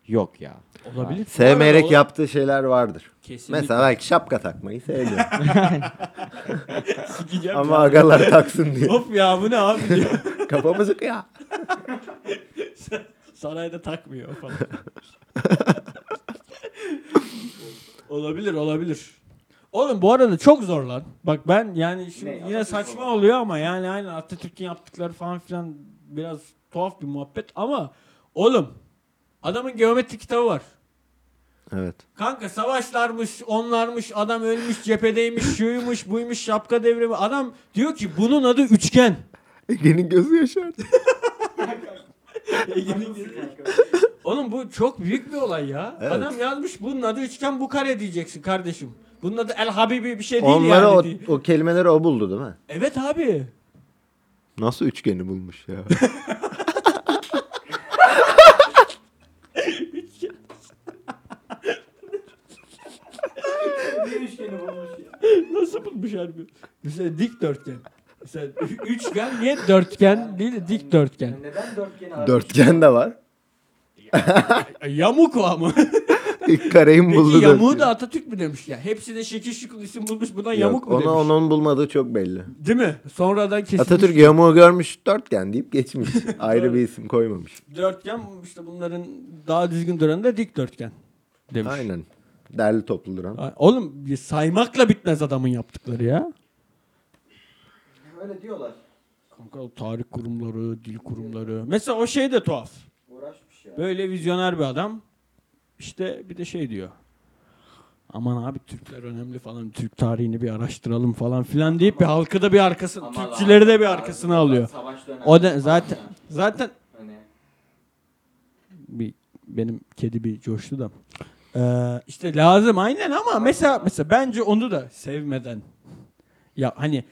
[SPEAKER 4] Yok ya.
[SPEAKER 1] Olabilir.
[SPEAKER 2] Sevmeyerek yaptığı şeyler vardır.
[SPEAKER 1] Kesinlikle.
[SPEAKER 2] Mesela belki şapka takmayı sevmiyor.
[SPEAKER 1] Sikeceğim
[SPEAKER 2] Ama
[SPEAKER 1] ya.
[SPEAKER 2] agalar taksın diye.
[SPEAKER 1] Hop ya bu ne abi diyor.
[SPEAKER 2] Kafamızı kıya.
[SPEAKER 1] Sarayda takmıyor falan. olabilir olabilir. Oğlum bu arada çok zor lan. Bak ben yani şimdi yine saçma oluyor ama yani aynı Atatürk'ün yaptıkları falan filan biraz tuhaf bir muhabbet ama oğlum adamın geometri kitabı var.
[SPEAKER 2] Evet.
[SPEAKER 1] Kanka savaşlarmış, onlarmış, adam ölmüş, cephedeymiş, şuymuş, buymuş, şapka devrimi. Adam diyor ki bunun adı üçgen.
[SPEAKER 2] Ege'nin E, gözü yaşardı.
[SPEAKER 1] Oğlum bu çok büyük bir olay ya.
[SPEAKER 2] Evet.
[SPEAKER 1] Adam yazmış bunun adı üçgen bu kare diyeceksin kardeşim. Bunun adı El Habibi bir şey değil
[SPEAKER 2] Onları
[SPEAKER 1] yani.
[SPEAKER 2] o,
[SPEAKER 1] diye.
[SPEAKER 2] o kelimeleri o buldu değil mi?
[SPEAKER 1] Evet abi.
[SPEAKER 2] Nasıl üçgeni bulmuş ya?
[SPEAKER 1] Nasıl bulmuş harbi? Mesela dikdörtgen. Mesela ü- üçgen niye dörtgen değil de dikdörtgen.
[SPEAKER 4] Neden dörtgeni
[SPEAKER 2] Dörtgen de var.
[SPEAKER 1] E, Yamuk o ama.
[SPEAKER 2] İlk kareyi mi buldu.
[SPEAKER 1] Peki yamuğu
[SPEAKER 2] dörtgen?
[SPEAKER 1] da Atatürk mü demiş ya? Hepsi de şekil şukul isim bulmuş buna
[SPEAKER 2] Yok,
[SPEAKER 1] yamuk mu
[SPEAKER 2] onu,
[SPEAKER 1] demiş?
[SPEAKER 2] Onun bulmadığı çok belli.
[SPEAKER 1] Değil mi? Sonradan kesilmiş.
[SPEAKER 2] Atatürk yamuğu görmüş dörtgen deyip geçmiş. Ayrı bir isim koymamış.
[SPEAKER 1] Dörtgen işte bunların daha düzgün duranı da dikdörtgen demiş.
[SPEAKER 2] Aynen. Derli toplu duran.
[SPEAKER 1] Ay, Oğlum bir saymakla bitmez adamın yaptıkları ya.
[SPEAKER 3] Öyle diyorlar.
[SPEAKER 1] Kanka o tarih kurumları, dil kurumları. Mesela o şey de tuhaf.
[SPEAKER 3] Uğraşmış ya.
[SPEAKER 1] Böyle vizyoner bir adam. İşte bir de şey diyor. Aman abi Türkler önemli falan. Türk tarihini bir araştıralım falan filan deyip bir halkı da bir arkasına,
[SPEAKER 3] Ama
[SPEAKER 1] Türkçileri de bir
[SPEAKER 3] lazım.
[SPEAKER 1] arkasına alıyor.
[SPEAKER 3] Savaş dönemi
[SPEAKER 1] O da
[SPEAKER 3] falan
[SPEAKER 1] zaten
[SPEAKER 3] ya.
[SPEAKER 1] zaten
[SPEAKER 3] Hani
[SPEAKER 1] bir benim kedi bir coştu da. Ee, işte lazım aynen ama mesela mesela bence onu da sevmeden ya hani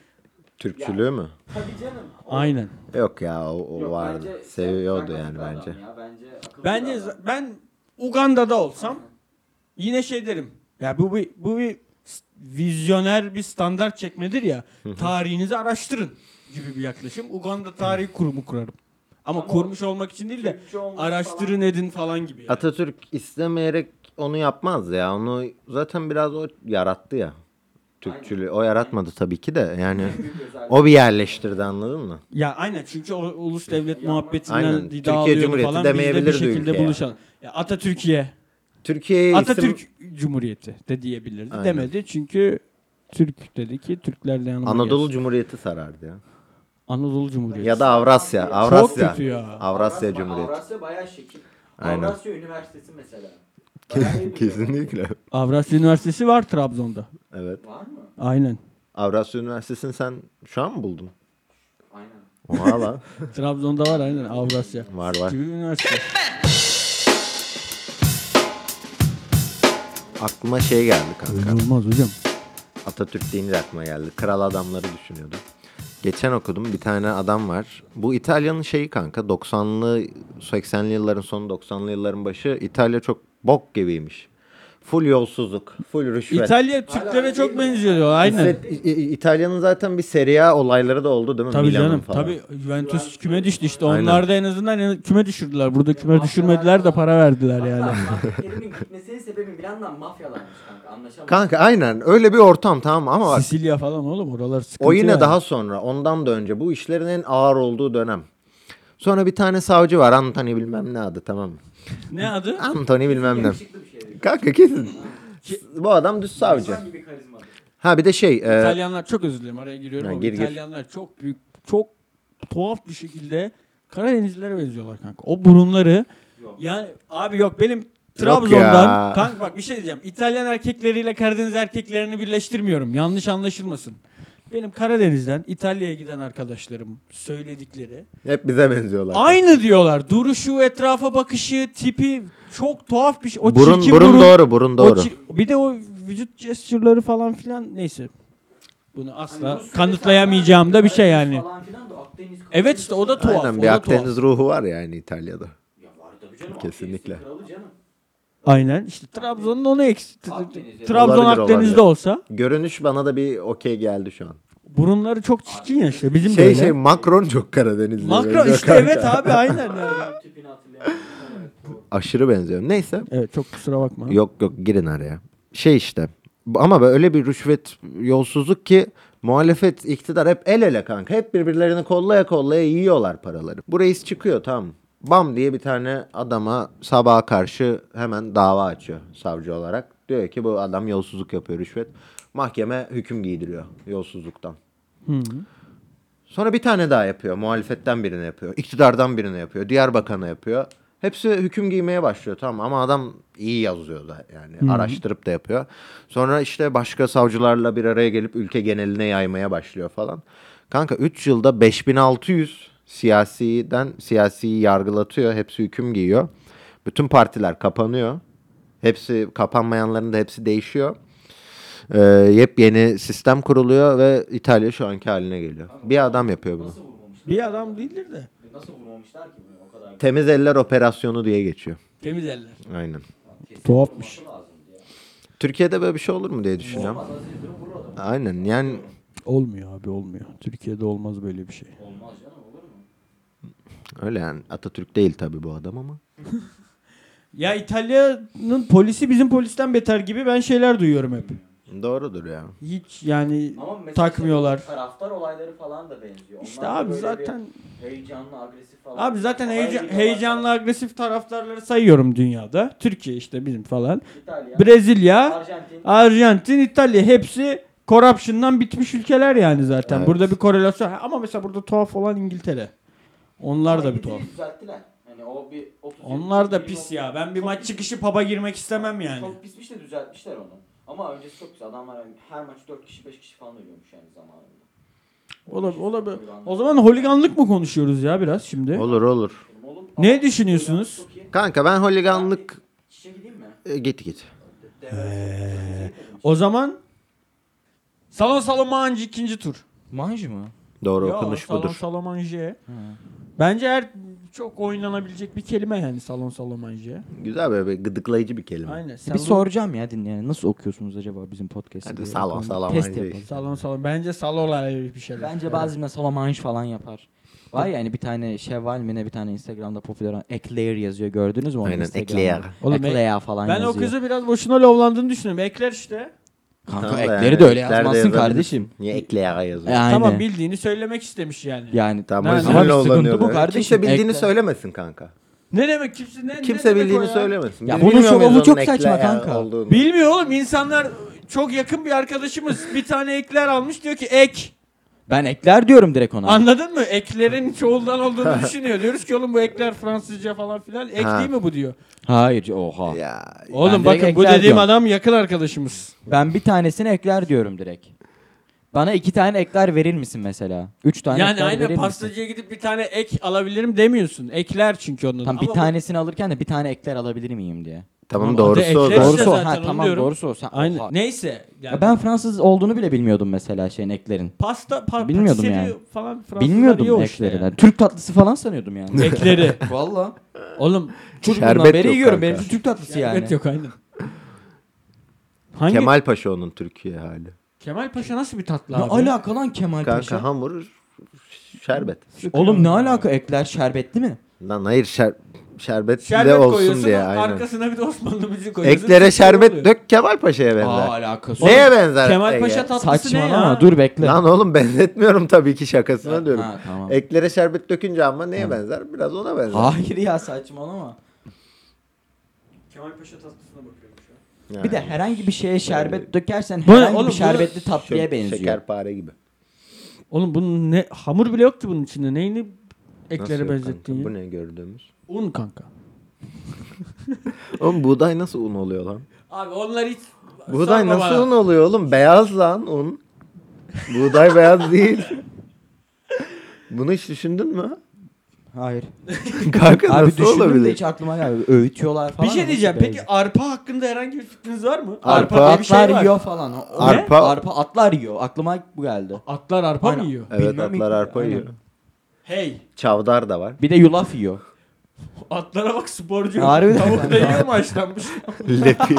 [SPEAKER 2] Türkçülüğü mü?
[SPEAKER 3] Tabii canım. O-
[SPEAKER 1] aynen.
[SPEAKER 2] Yok ya o, o
[SPEAKER 3] Yok,
[SPEAKER 2] vardı.
[SPEAKER 3] bence-
[SPEAKER 2] Seviyordu
[SPEAKER 3] Sen
[SPEAKER 2] yani
[SPEAKER 3] akıllı adam
[SPEAKER 2] bence.
[SPEAKER 3] ya, Bence akıllı
[SPEAKER 1] Bence
[SPEAKER 3] bir
[SPEAKER 1] z-
[SPEAKER 3] adam.
[SPEAKER 1] ben Uganda'da olsam yine şey derim. Ya bu bir bu bir s- vizyoner bir standart çekmedir ya. Tarihinizi araştırın gibi bir yaklaşım. Uganda Tarihi Kurumu kurarım. Ama,
[SPEAKER 3] Ama
[SPEAKER 1] kurmuş olmak için değil de
[SPEAKER 3] Türkçe olmuş
[SPEAKER 1] araştırın
[SPEAKER 3] falan.
[SPEAKER 1] edin falan gibi. yani.
[SPEAKER 2] Atatürk istemeyerek onu yapmaz ya. Onu zaten biraz o yarattı ya. Türkçülüğü. O yaratmadı tabii ki de. Yani
[SPEAKER 3] Büyük özellik.
[SPEAKER 2] o bir yerleştirdi anladın mı?
[SPEAKER 1] Ya aynen çünkü o ulus devlet muhabbetinden
[SPEAKER 2] Şey, Aynen.
[SPEAKER 1] aynen.
[SPEAKER 2] Türkiye Cumhuriyeti
[SPEAKER 1] falan biz de bir
[SPEAKER 2] demeyebilirdi
[SPEAKER 1] şekilde
[SPEAKER 2] ülkeye.
[SPEAKER 1] buluşalım. Ya Atatürkiye,
[SPEAKER 2] Türkiye'ye isim-
[SPEAKER 1] Atatürk Cumhuriyeti de diyebilirdi.
[SPEAKER 2] Aynen.
[SPEAKER 1] Demedi çünkü Türk dedi ki Türklerle yanıma
[SPEAKER 2] Anadolu
[SPEAKER 1] gelsin.
[SPEAKER 2] Cumhuriyeti sarardı ya.
[SPEAKER 1] Anadolu Cumhuriyeti.
[SPEAKER 2] Ya da Avrasya. Avrasya.
[SPEAKER 1] kötü ya.
[SPEAKER 2] Avrasya Cumhuriyeti.
[SPEAKER 3] Avrasya bayağı şekil.
[SPEAKER 2] Aynen.
[SPEAKER 3] Avrasya Üniversitesi mesela. Bayağı iyi bir şey.
[SPEAKER 1] Avrasya Üniversitesi var Trabzon'da.
[SPEAKER 2] Evet.
[SPEAKER 3] Var mı?
[SPEAKER 1] Aynen.
[SPEAKER 2] Avrasya Üniversitesi'ni sen şu an mı buldun?
[SPEAKER 3] Aynen.
[SPEAKER 2] Oha lan.
[SPEAKER 1] Trabzon'da var aynen Avrasya.
[SPEAKER 2] Var var.
[SPEAKER 1] Gibi bir üniversite.
[SPEAKER 2] Aklıma şey geldi kanka.
[SPEAKER 1] Olmaz hocam.
[SPEAKER 2] Atatürk deyince aklıma geldi. Kral adamları düşünüyordum. Geçen okudum bir tane adam var. Bu İtalya'nın şeyi kanka 90'lı 80'li yılların sonu 90'lı yılların başı İtalya çok bok gibiymiş. Full yolsuzluk, full rüşvet.
[SPEAKER 1] İtalya Türklere çok benziyor. diyor, Aynen.
[SPEAKER 2] İse- İ- İ- İtalya'nın zaten bir seri A olayları da oldu değil mi?
[SPEAKER 1] Tabii
[SPEAKER 2] Milan'ın
[SPEAKER 1] canım.
[SPEAKER 2] falan.
[SPEAKER 1] Tabii Juventus küme düştü işte.
[SPEAKER 2] Aynen.
[SPEAKER 1] Onlar da en azından en- küme düşürdüler. Burada küme düşürmediler de para verdiler yani.
[SPEAKER 3] Kelimin gitmesinin sebebi Milan'dan mafyalarmış kanka anlaşamadım.
[SPEAKER 2] Kanka aynen öyle bir ortam tamam mı? ama bak
[SPEAKER 1] Sicilya falan oğlum oralar sıkıntı
[SPEAKER 2] O yine
[SPEAKER 1] yani.
[SPEAKER 2] daha sonra. Ondan da önce. Bu işlerin en ağır olduğu dönem. Sonra bir tane savcı var. Anthony bilmem ne adı tamam mı?
[SPEAKER 1] Ne adı?
[SPEAKER 2] Anthony bilmem ne.
[SPEAKER 3] Yakışıklı bir şey şeydi.
[SPEAKER 2] Kanka kesin. Bu adam düz savcı.
[SPEAKER 3] Hayvan gibi karizmalı.
[SPEAKER 2] Ha bir de şey. e,
[SPEAKER 1] İtalyanlar çok özür dilerim araya giriyorum
[SPEAKER 2] Ha,
[SPEAKER 1] ama
[SPEAKER 2] gir, gir.
[SPEAKER 1] İtalyanlar çok büyük çok tuhaf bir şekilde Karadenizlilere benziyorlar kanka. O burunları
[SPEAKER 3] Yok.
[SPEAKER 1] yani abi yok benim Trabzon'dan
[SPEAKER 2] ya.
[SPEAKER 1] kanka bak bir şey diyeceğim. İtalyan erkekleriyle Karadeniz erkeklerini birleştirmiyorum. Yanlış anlaşılmasın. Benim Karadeniz'den İtalya'ya giden arkadaşlarım söyledikleri
[SPEAKER 2] hep bize benziyorlar.
[SPEAKER 1] aynı diyorlar. Duruşu, etrafa bakışı, tipi çok tuhaf bir şey. O
[SPEAKER 2] burun,
[SPEAKER 1] çirkin
[SPEAKER 2] burun
[SPEAKER 1] burun
[SPEAKER 2] doğru. Burun
[SPEAKER 1] o
[SPEAKER 2] doğru.
[SPEAKER 1] çi- bir de o vücut gesture'ları falan filan neyse. Bunu asla
[SPEAKER 3] Hani bu sürede
[SPEAKER 1] kanıtlayamayacağım da bir şey
[SPEAKER 3] Karadeniz
[SPEAKER 1] yani.
[SPEAKER 3] falan filan da Akdeniz
[SPEAKER 1] Evet işte o da tuhaf.
[SPEAKER 2] Aynen
[SPEAKER 1] o
[SPEAKER 2] bir
[SPEAKER 1] da
[SPEAKER 2] Akdeniz
[SPEAKER 1] tuhaf.
[SPEAKER 2] ruhu var yani İtalya'da.
[SPEAKER 3] Ya var tabii canım.
[SPEAKER 2] Kesinlikle.
[SPEAKER 3] Akdeniz'in kralı canım.
[SPEAKER 1] Aynen işte Trabzon'un onu eksik.
[SPEAKER 3] Akdeniz'e-
[SPEAKER 1] Trabzon
[SPEAKER 2] Olabilir, olabilir.
[SPEAKER 1] Akdeniz'de olsa
[SPEAKER 2] Görünüş bana da bir okey geldi şu an.
[SPEAKER 1] burunları çok çirkin ya işte bizim
[SPEAKER 2] Şey
[SPEAKER 1] böyle.
[SPEAKER 2] şey Macron çok Karadenizli.
[SPEAKER 1] Makro
[SPEAKER 2] benziyor
[SPEAKER 1] işte
[SPEAKER 2] kanka.
[SPEAKER 1] evet abi aynen yani.
[SPEAKER 3] Tipini hatırlayamıyorum. Evet, doğru.
[SPEAKER 2] aşırı benziyorum. Neyse.
[SPEAKER 1] Evet çok kusura bakma.
[SPEAKER 2] Yok yok girin araya. Şey işte. bu- Ama böyle bir rüşvet yolsuzluk ki muhalefet iktidar hep el ele kanka. Hep birbirlerini kollaya kollaya yiyorlar paraları. Bu reis çıkıyor tamam. Bam diye bir tane adama sabaha karşı hemen dava açıyor savcı olarak. Diyor ki bu adam yolsuzluk yapıyor rüşvet. Mahkeme hüküm giydiriyor yolsuzluktan.
[SPEAKER 1] Hı.
[SPEAKER 2] Sonra bir tane daha yapıyor. Muhalefetten birine yapıyor. iktidardan birine yapıyor. Diğer bakana yapıyor. Hepsi hüküm giymeye başlıyor tamam ama adam iyi yazıyor da yani araştırıp da yapıyor. Sonra işte başka savcılarla bir araya gelip ülke geneline yaymaya başlıyor falan. Kanka 3 yılda 5600 siyasiden siyasiyi yargılatıyor. Hepsi hüküm giyiyor. Bütün partiler kapanıyor. Hepsi kapanmayanların da hepsi değişiyor. Ee, yepyeni sistem kuruluyor ve İtalya şu anki haline geliyor. Bir adam yapıyor bunu.
[SPEAKER 3] Nasıl vurmamışlar?
[SPEAKER 1] Bir adam değildir de.
[SPEAKER 3] Nasıl vurmamışlar ki bunu o kadar?
[SPEAKER 2] Temiz eller operasyonu diye geçiyor.
[SPEAKER 1] Temiz eller.
[SPEAKER 2] Aynen.
[SPEAKER 3] Kesin
[SPEAKER 1] Tuhafmış.
[SPEAKER 3] vurması lazımdı ya.
[SPEAKER 2] Türkiye'de böyle bir şey olur mu diye düşünüyorum.
[SPEAKER 3] Olmaz Aziz Yıldırım vurur adamı.
[SPEAKER 2] Aynen yani
[SPEAKER 1] Olmuyor abi olmuyor. Türkiye'de olmaz böyle bir şey.
[SPEAKER 3] Olmaz canım olur mu?
[SPEAKER 2] öyle yani Atatürk değil tabii bu adam ama.
[SPEAKER 1] Ya İtalya'nın polisi bizim polisten beter gibi ben şeyler duyuyorum hep.
[SPEAKER 2] Doğrudur ya.
[SPEAKER 1] Hiç yani
[SPEAKER 3] Ama mesela
[SPEAKER 1] takmıyorlar.
[SPEAKER 3] işte taraftar olayları falan da benziyor. Onlar
[SPEAKER 1] İşte
[SPEAKER 3] da
[SPEAKER 1] abi
[SPEAKER 3] böyle bir
[SPEAKER 1] zaten
[SPEAKER 3] heyecanlı, agresif falan.
[SPEAKER 1] abi zaten
[SPEAKER 3] Olay
[SPEAKER 1] heyecan,
[SPEAKER 3] büyüyorlar.
[SPEAKER 1] heyecanlı agresif taraftarları sayıyorum dünyada. Türkiye işte bizim falan.
[SPEAKER 3] İtalya,
[SPEAKER 1] Brezilya,
[SPEAKER 3] Arjantin.
[SPEAKER 1] Arjantin, İtalya hepsi corruption'dan bitmiş ülkeler yani zaten.
[SPEAKER 2] Evet.
[SPEAKER 1] Burada bir korelasyon ama mesela burada tuhaf olan İngiltere. Onlar da bir tuhaf.
[SPEAKER 3] İngiltere'yi düzelttiler. Hani o bir 30
[SPEAKER 1] Onlar da pis ya. Ben bir
[SPEAKER 3] Çok
[SPEAKER 1] maç
[SPEAKER 3] pis.
[SPEAKER 1] çıkışı paba girmek istemem yani.
[SPEAKER 3] Çok pismiş de düzeltmişler onu. Ama öncesi çok güzel. Adamlar hani her maç 4 kişi 5 kişi falan ölüyormuş yani zamanında.
[SPEAKER 1] Ola, ola, o zaman holiganlık mı konuşuyoruz ya biraz şimdi?
[SPEAKER 2] Olur olur.
[SPEAKER 3] Oğlum,
[SPEAKER 1] Ne
[SPEAKER 3] ama-
[SPEAKER 1] düşünüyorsunuz?
[SPEAKER 3] Çok iyi.
[SPEAKER 2] Kanka ben holiganlık
[SPEAKER 3] Çişe gideyim mi?
[SPEAKER 2] E, git git.
[SPEAKER 3] De- deve-
[SPEAKER 1] O zaman Salon Salomancı ikinci tur.
[SPEAKER 4] Manj mı?
[SPEAKER 2] Doğru
[SPEAKER 1] Ya,
[SPEAKER 2] okunuş
[SPEAKER 1] salon
[SPEAKER 2] budur.
[SPEAKER 1] Salomancı.
[SPEAKER 4] Ha.
[SPEAKER 1] Bence her çok oynanabilecek bir kelime yani salon Salomancı.
[SPEAKER 2] Güzel böyle bir gıdıklayıcı bir kelime.
[SPEAKER 1] Aynen.
[SPEAKER 4] Bir
[SPEAKER 1] salon-
[SPEAKER 4] soracağım ya dinleyene. Nasıl okuyorsunuz acaba bizim podcast'ı?
[SPEAKER 2] Hadi
[SPEAKER 4] diye.
[SPEAKER 2] salon,
[SPEAKER 4] Bakalım.
[SPEAKER 2] salon,
[SPEAKER 4] Test
[SPEAKER 2] bence
[SPEAKER 4] yapalım.
[SPEAKER 1] Salon salon. Bence salonlar bir şeyler.
[SPEAKER 4] Bence bazı salamanj falan yapar. Var ya hani bir tane Şevval mi ne bir tane Instagram'da popüler olan Eclair yazıyor gördünüz mü onu
[SPEAKER 2] Aynen,
[SPEAKER 4] Instagram'da?
[SPEAKER 2] Eclair.
[SPEAKER 1] Oğlum,
[SPEAKER 4] Eclair falan
[SPEAKER 1] Ben
[SPEAKER 4] yazıyor.
[SPEAKER 1] o kızı biraz boşuna lovlandığını düşünüyorum. Ekler işte.
[SPEAKER 4] Kanka
[SPEAKER 2] Tamam da
[SPEAKER 4] Eclair'i
[SPEAKER 2] yani,
[SPEAKER 4] de öyle
[SPEAKER 2] ekler de
[SPEAKER 4] yazmazsın
[SPEAKER 2] yazabilirsin.
[SPEAKER 4] kardeşim.
[SPEAKER 2] Niye ekleye yazıyor?
[SPEAKER 4] Aynen.
[SPEAKER 1] Tamam bildiğini söylemek istemiş yani.
[SPEAKER 4] yani
[SPEAKER 2] Tamam o
[SPEAKER 1] Nerede?
[SPEAKER 2] yüzden
[SPEAKER 1] Ama
[SPEAKER 2] lovlanıyor
[SPEAKER 4] sıkıntı bu
[SPEAKER 2] da.
[SPEAKER 4] kardeşim.
[SPEAKER 2] Kimse bildiğini
[SPEAKER 4] Ekle.
[SPEAKER 2] söylemesin kanka.
[SPEAKER 1] Ne demek kimse ne ne
[SPEAKER 2] Kimse
[SPEAKER 1] demek o
[SPEAKER 2] bildiğini
[SPEAKER 1] ya?
[SPEAKER 2] söylemesin.
[SPEAKER 4] Ya
[SPEAKER 2] Biz
[SPEAKER 4] bunun
[SPEAKER 2] bilmiyor
[SPEAKER 4] şovu
[SPEAKER 2] muyuz onun
[SPEAKER 4] çok saçma
[SPEAKER 2] ekleyen
[SPEAKER 4] kanka.
[SPEAKER 2] olduğunu?
[SPEAKER 1] Bilmiyor oğlum insanlar çok yakın bir arkadaşımız bir tane ekler almış diyor ki ek.
[SPEAKER 4] Ben Eclair diyorum direkt ona.
[SPEAKER 1] Anladın mı? Eklerin çoğuldan olduğunu düşünüyor. Diyoruz ki oğlum bu ekler Fransızca falan filan. Ek
[SPEAKER 2] Ha.
[SPEAKER 1] değil mi bu diyor.
[SPEAKER 4] Hayır oha.
[SPEAKER 2] Ya
[SPEAKER 1] Oğlum
[SPEAKER 4] direkt
[SPEAKER 1] bakın bu
[SPEAKER 4] ekler
[SPEAKER 1] dediğim
[SPEAKER 4] diyorum.
[SPEAKER 1] adam yakın arkadaşımız.
[SPEAKER 4] Ben bir tanesini Eclair diyorum direkt. Bana iki tane Eclair verir misin mesela? Üç tane
[SPEAKER 1] yani
[SPEAKER 4] Eclair
[SPEAKER 1] aynen
[SPEAKER 4] verir misin?
[SPEAKER 1] pastacıya gidip bir tane ek alabilirim demiyorsun. Ekler çünkü onun.
[SPEAKER 4] Tam bir tanesini alırken de bir tane Eclair alabilir miyim diye.
[SPEAKER 2] tamam
[SPEAKER 1] Ama
[SPEAKER 2] doğrusu o
[SPEAKER 1] ekle-
[SPEAKER 2] da.
[SPEAKER 1] Doğru.
[SPEAKER 4] Doğrusu o.
[SPEAKER 1] zaten
[SPEAKER 4] Ha,
[SPEAKER 1] onu
[SPEAKER 4] tamam
[SPEAKER 1] diyorum.
[SPEAKER 4] doğrusu o. Sen,
[SPEAKER 1] Aynen.
[SPEAKER 4] oha.
[SPEAKER 1] Neyse. Yani
[SPEAKER 4] Ya ben Fransız olduğunu bile bilmiyordum mesela şeyin Eclair'in.
[SPEAKER 1] pasta pa-
[SPEAKER 4] Bilmiyordum
[SPEAKER 1] patisserie
[SPEAKER 4] yani.
[SPEAKER 1] falan Fransızlar yiyor
[SPEAKER 4] Bilmiyordum
[SPEAKER 1] işte
[SPEAKER 4] eklerini.
[SPEAKER 1] yani.
[SPEAKER 4] Türk tatlısı falan sanıyordum yani.
[SPEAKER 1] Ekleri.
[SPEAKER 4] Valla.
[SPEAKER 1] Oğlum
[SPEAKER 4] Çocukluğumdan
[SPEAKER 2] Şerbet
[SPEAKER 4] beri
[SPEAKER 2] yok
[SPEAKER 4] yiyorum.
[SPEAKER 2] kanka.
[SPEAKER 4] Benim için Türk tatlısı yani.
[SPEAKER 1] yani. yok aynen. Hangi Kemal,
[SPEAKER 2] Kemal Paşa onun Türkiye hali.
[SPEAKER 1] Paşa nasıl bir tatlı
[SPEAKER 4] Ne
[SPEAKER 1] abi?
[SPEAKER 4] alaka lan Kemal Paşa?
[SPEAKER 2] Kanka hamur şerbet.
[SPEAKER 4] Oğlum ne alaka ekler şerbetli mi?
[SPEAKER 2] Lan hayır şer, şerbet,
[SPEAKER 1] Şerbet
[SPEAKER 2] de
[SPEAKER 1] koyuyorsun
[SPEAKER 2] olsun diye aynen.
[SPEAKER 1] arkasına bir de Osmanlı müziği koyuyorsun. Süper
[SPEAKER 2] Eklere şerbet
[SPEAKER 1] oluyor.
[SPEAKER 2] dök Kemal Paşa'ya benzer.
[SPEAKER 4] Aa alakası yok.
[SPEAKER 2] Neye benzer?
[SPEAKER 1] Kemal
[SPEAKER 2] Ege?
[SPEAKER 1] Paşa tatlısı ne
[SPEAKER 4] Saçmalama
[SPEAKER 1] ya?
[SPEAKER 4] dur bekle.
[SPEAKER 2] Lan oğlum benzetmiyorum tabii ki şakasına diyorum.
[SPEAKER 4] Ha, tamam. Ah,
[SPEAKER 2] Eklere şerbet dökünce ama neye benzer? Biraz ona benzer.
[SPEAKER 4] Hayır ya saçmalama.
[SPEAKER 1] Kemal Paşa tatlısına bakıyorum şu an.
[SPEAKER 2] Yani.
[SPEAKER 4] Bir de herhangi bir şeye şerbet dökersen
[SPEAKER 1] Bu ne
[SPEAKER 4] herhangi
[SPEAKER 1] oğlum, bu
[SPEAKER 4] bir
[SPEAKER 1] ne?
[SPEAKER 4] şerbetli
[SPEAKER 2] Şö-
[SPEAKER 4] tatlıya benziyor.
[SPEAKER 2] Şekerpare gibi.
[SPEAKER 1] Oğlum bunun ne hamur bile yoktu bunun içinde. Neyini
[SPEAKER 2] Nasıl
[SPEAKER 1] eklere
[SPEAKER 2] yok
[SPEAKER 1] benzettin
[SPEAKER 2] kanka?
[SPEAKER 1] ya?
[SPEAKER 2] Bu ne gördüğümüz?
[SPEAKER 1] Un kanka.
[SPEAKER 2] Oğlum buğday nasıl un oluyor lan?
[SPEAKER 1] Abi onlar hiç
[SPEAKER 2] Buğday nasıl un oluyor oğlum? Beyaz lan un. Buğday beyaz değil. Bunu hiç düşündün mü?
[SPEAKER 4] Hayır.
[SPEAKER 2] Kanka
[SPEAKER 4] Abi
[SPEAKER 2] nasıl
[SPEAKER 4] düşündüm de
[SPEAKER 2] olabilir?
[SPEAKER 4] hiç aklıma gelmedi. Öğütüyorlar falan.
[SPEAKER 1] Bir şey
[SPEAKER 4] ama
[SPEAKER 1] diyeceğim.
[SPEAKER 4] nasıl
[SPEAKER 1] Peki arpa hakkında herhangi bir fikriniz var mı?
[SPEAKER 2] Arpa-
[SPEAKER 1] diye
[SPEAKER 4] Atlar
[SPEAKER 1] bir şey var.
[SPEAKER 4] yiyor falan. O- o ne?
[SPEAKER 2] Arpa-
[SPEAKER 4] Arpa atlar yiyor. Aklıma bu geldi.
[SPEAKER 1] Atlar arpa mı
[SPEAKER 4] Aynen.
[SPEAKER 1] yiyor?
[SPEAKER 2] Evet
[SPEAKER 4] Bilmem
[SPEAKER 2] atlar
[SPEAKER 4] ilk-
[SPEAKER 2] arpa
[SPEAKER 4] aynen.
[SPEAKER 2] yiyor.
[SPEAKER 1] Hey,
[SPEAKER 2] Çavdar da var.
[SPEAKER 4] Bir de yulaf yiyor.
[SPEAKER 1] atlara bak sporcu.
[SPEAKER 4] Harbiden
[SPEAKER 1] Tavuk da
[SPEAKER 4] kanka.
[SPEAKER 1] yiyor mu haşlanmış?
[SPEAKER 2] Lepi.